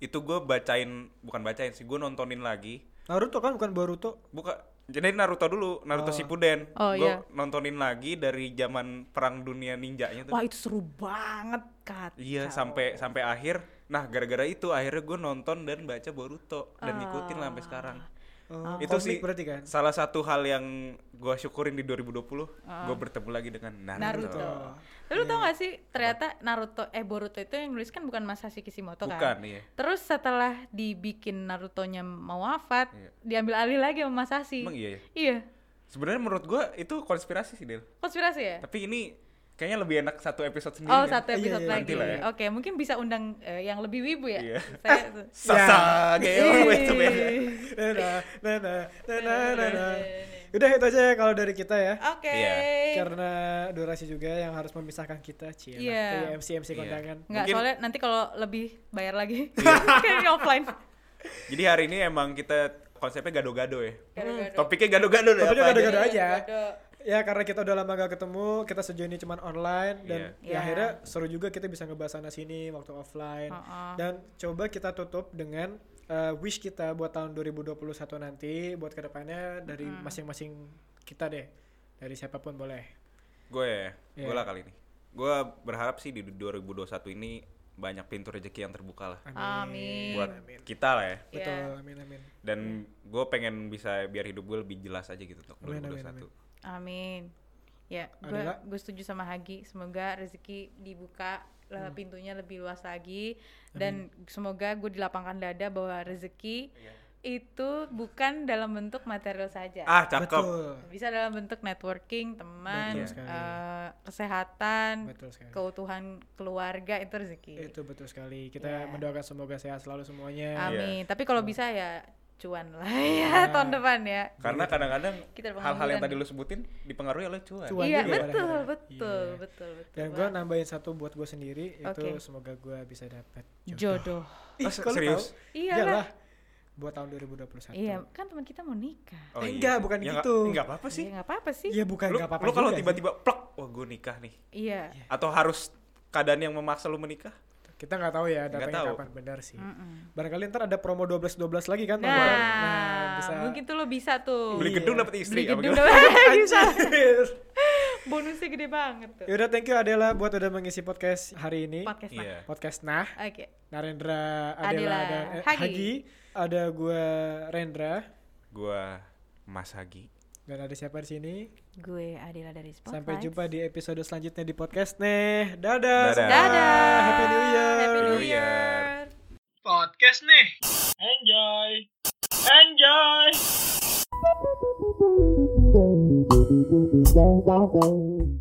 Speaker 2: Itu gue bacain, bukan bacain sih, gue nontonin lagi.
Speaker 1: Naruto kan bukan Boruto.
Speaker 2: Buka jadi Naruto dulu, Naruto Shippuden.
Speaker 4: Oh,
Speaker 2: gue
Speaker 4: iya.
Speaker 2: nontonin lagi dari zaman perang dunia ninjanya tuh.
Speaker 4: wah itu seru banget kat
Speaker 2: Iya sampai sampai akhir. Nah gara-gara itu akhirnya gue nonton dan baca Boruto dan ngikutin lah sampai sekarang.
Speaker 4: Ah.
Speaker 1: Oh,
Speaker 2: itu
Speaker 1: konflik
Speaker 2: sih
Speaker 1: berarti kan?
Speaker 2: salah satu hal yang gue syukurin di 2020 gue bertemu lagi dengan Naruto. Iya.
Speaker 4: Naruto. Lu tau gak sih ternyata Naruto eh Boruto itu yang nulis kan bukan Masashi Kishimoto
Speaker 2: Bukan,
Speaker 4: kan?
Speaker 2: iya.
Speaker 4: Terus setelah dibikin Narutonya mau wafat,
Speaker 2: Iya.
Speaker 4: diambil alih lagi sama Masashi.
Speaker 2: Emang iya ya?
Speaker 4: Iya.
Speaker 2: Sebenarnya menurut gue itu konspirasi sih Del.
Speaker 4: Konspirasi ya?
Speaker 2: Tapi ini kayaknya lebih enak satu episode sendiri.
Speaker 4: Oh,
Speaker 2: kan?
Speaker 1: Iya,
Speaker 4: satu episode
Speaker 1: iya,
Speaker 4: lagi.
Speaker 2: nanti lah ya.
Speaker 4: Oke, mungkin bisa undang eh, yang lebih wibu ya.
Speaker 2: Iya.
Speaker 4: Saya
Speaker 2: Sasage
Speaker 4: Iya.
Speaker 2: wes, wes.
Speaker 4: Ih.
Speaker 1: Nah, nah, nah, nah, nah, nah, nah, nah. Udah itu aja ya kalau dari kita ya.
Speaker 4: Oke.
Speaker 2: Iya.
Speaker 1: Karena durasi juga yang harus memisahkan kita, Cie.
Speaker 4: Iya.
Speaker 1: Kayak MC MC kondangan.
Speaker 4: Enggak,
Speaker 2: Mungkin- Iya.
Speaker 4: soalnya nanti kalau lebih bayar lagi. Kayaknya offline.
Speaker 2: Hmm, Jadi hari ini emang kita konsepnya gado-gado ya.
Speaker 4: Gado-gado.
Speaker 2: Topiknya gado-gado deh.
Speaker 1: Topiknya
Speaker 2: apa aja? Iya.
Speaker 1: gado-gado aja.
Speaker 4: Gado.
Speaker 1: Ya karena kita udah lama gak ketemu, kita sejauh ini cuman online dan
Speaker 4: Iya.
Speaker 1: ya akhirnya seru juga kita bisa ngebahas sana sini waktu offline.
Speaker 4: Uh-uh.
Speaker 1: Dan coba kita tutup dengan uh, wish kita buat tahun 2021 nanti buat kedepannya dari masing-masing kita deh. Dari siapapun boleh.
Speaker 2: Gue, ya?
Speaker 1: Iya.
Speaker 2: gue lah kali ini. Gue berharap sih di 2021 ini banyak pintu rezeki yang terbuka lah
Speaker 4: Amin.
Speaker 2: buat kita lah ya.
Speaker 4: Iya.
Speaker 1: Betul, amin amin.
Speaker 2: Dan gue pengen bisa biar hidup gue lebih jelas aja gitu untuk
Speaker 1: Iya. Amin, amin,
Speaker 2: 2021.
Speaker 1: amin.
Speaker 4: Amin. Ya,
Speaker 1: Adela?
Speaker 4: gue setuju sama Hagi. Semoga rezeki dibuka
Speaker 1: Hmm.
Speaker 4: lah pintunya lebih luas lagi dan semoga gue dilapangkan dada bahwa rezeki itu bukan dalam bentuk material saja.
Speaker 2: Ah cakep.
Speaker 1: Betul.
Speaker 4: Bisa dalam bentuk networking, teman,
Speaker 1: Betul sekali.
Speaker 4: eh, kesehatan,
Speaker 1: Betul sekali.
Speaker 4: keutuhan keluarga itu rezeki.
Speaker 1: Itu betul sekali. Kita
Speaker 4: Iya.
Speaker 1: mendoakan semoga sehat selalu semuanya.
Speaker 4: Amin. Tapi kalau bisa ya cuan lah
Speaker 1: Ah.
Speaker 4: ya tahun depan ya.
Speaker 2: Karena kadang-kadang
Speaker 4: Kita ada
Speaker 2: hal-hal yang
Speaker 4: pengangguran
Speaker 2: tadi lu sebutin dipengaruhi oleh cuan.
Speaker 1: Cuan
Speaker 4: Iya,
Speaker 1: juga
Speaker 4: betul, betul,
Speaker 1: kadang-kadang.
Speaker 4: betul,
Speaker 1: Iya.
Speaker 4: betul,
Speaker 1: Dan gue nambahin satu buat gue sendiri itu
Speaker 4: Oke.
Speaker 1: semoga gue bisa dapat
Speaker 4: jodoh.
Speaker 1: Ih,
Speaker 2: Ah,
Speaker 1: kok lu
Speaker 2: serius?
Speaker 1: tahu?
Speaker 4: Iya
Speaker 1: Iyalah. Buat tahun 2021.
Speaker 4: Iya, kan teman kita mau nikah.
Speaker 2: Oh,
Speaker 1: Eh, enggak,
Speaker 2: sih.
Speaker 1: bukan
Speaker 2: Ya,
Speaker 1: gitu.
Speaker 2: Enggak apa-apa sih.
Speaker 4: Iya nggak apa-apa sih.
Speaker 1: Iya bukan
Speaker 2: lu
Speaker 1: nggak apa-apa.
Speaker 2: lu kalau
Speaker 1: juga sih.
Speaker 2: tiba-tiba plek, wah gue nikah nih.
Speaker 4: Iya.
Speaker 2: Atau harus keadaan yang memaksa lu menikah?
Speaker 1: kita nggak tahu ya
Speaker 2: Nggak
Speaker 1: datangnya
Speaker 2: tahu.
Speaker 1: kapan benar sih.
Speaker 4: Mm-mm.
Speaker 1: Barangkali ntar ada promo 12 12 lagi kan
Speaker 4: Hmm. Nah,
Speaker 1: tahun depan. bisa
Speaker 4: mungkin tuh lo bisa tuh.
Speaker 2: Beli
Speaker 1: Iya.
Speaker 2: gedung dapat
Speaker 4: Beli
Speaker 2: istri apa
Speaker 4: gedung
Speaker 2: gimana?
Speaker 4: doang. bisa.
Speaker 1: Anjir.
Speaker 4: Bonusnya gede banget tuh.
Speaker 1: Yaudah thank you Adela buat udah mengisi podcast hari ini.
Speaker 4: Podcast lah.
Speaker 2: Iya.
Speaker 1: Podcast nah
Speaker 4: Oke.
Speaker 1: Narendra Adela,
Speaker 4: Adela,
Speaker 1: dan eh,
Speaker 4: Hagi.
Speaker 1: Hagi. Ada gue Rendra
Speaker 2: Gua Mas Hagi.
Speaker 1: dan ada siapa di sini.
Speaker 4: Gue Adila dari Spotify.
Speaker 1: Sampai jumpa di episode selanjutnya di podcast nih. Dadah.
Speaker 2: Dadah.
Speaker 1: semua.
Speaker 4: Dadah.
Speaker 1: Happy New Year.
Speaker 4: Happy New
Speaker 2: New Year.
Speaker 4: Year.
Speaker 3: Podcast nih. Enjoy. Enjoy.
Speaker 5: Thank you.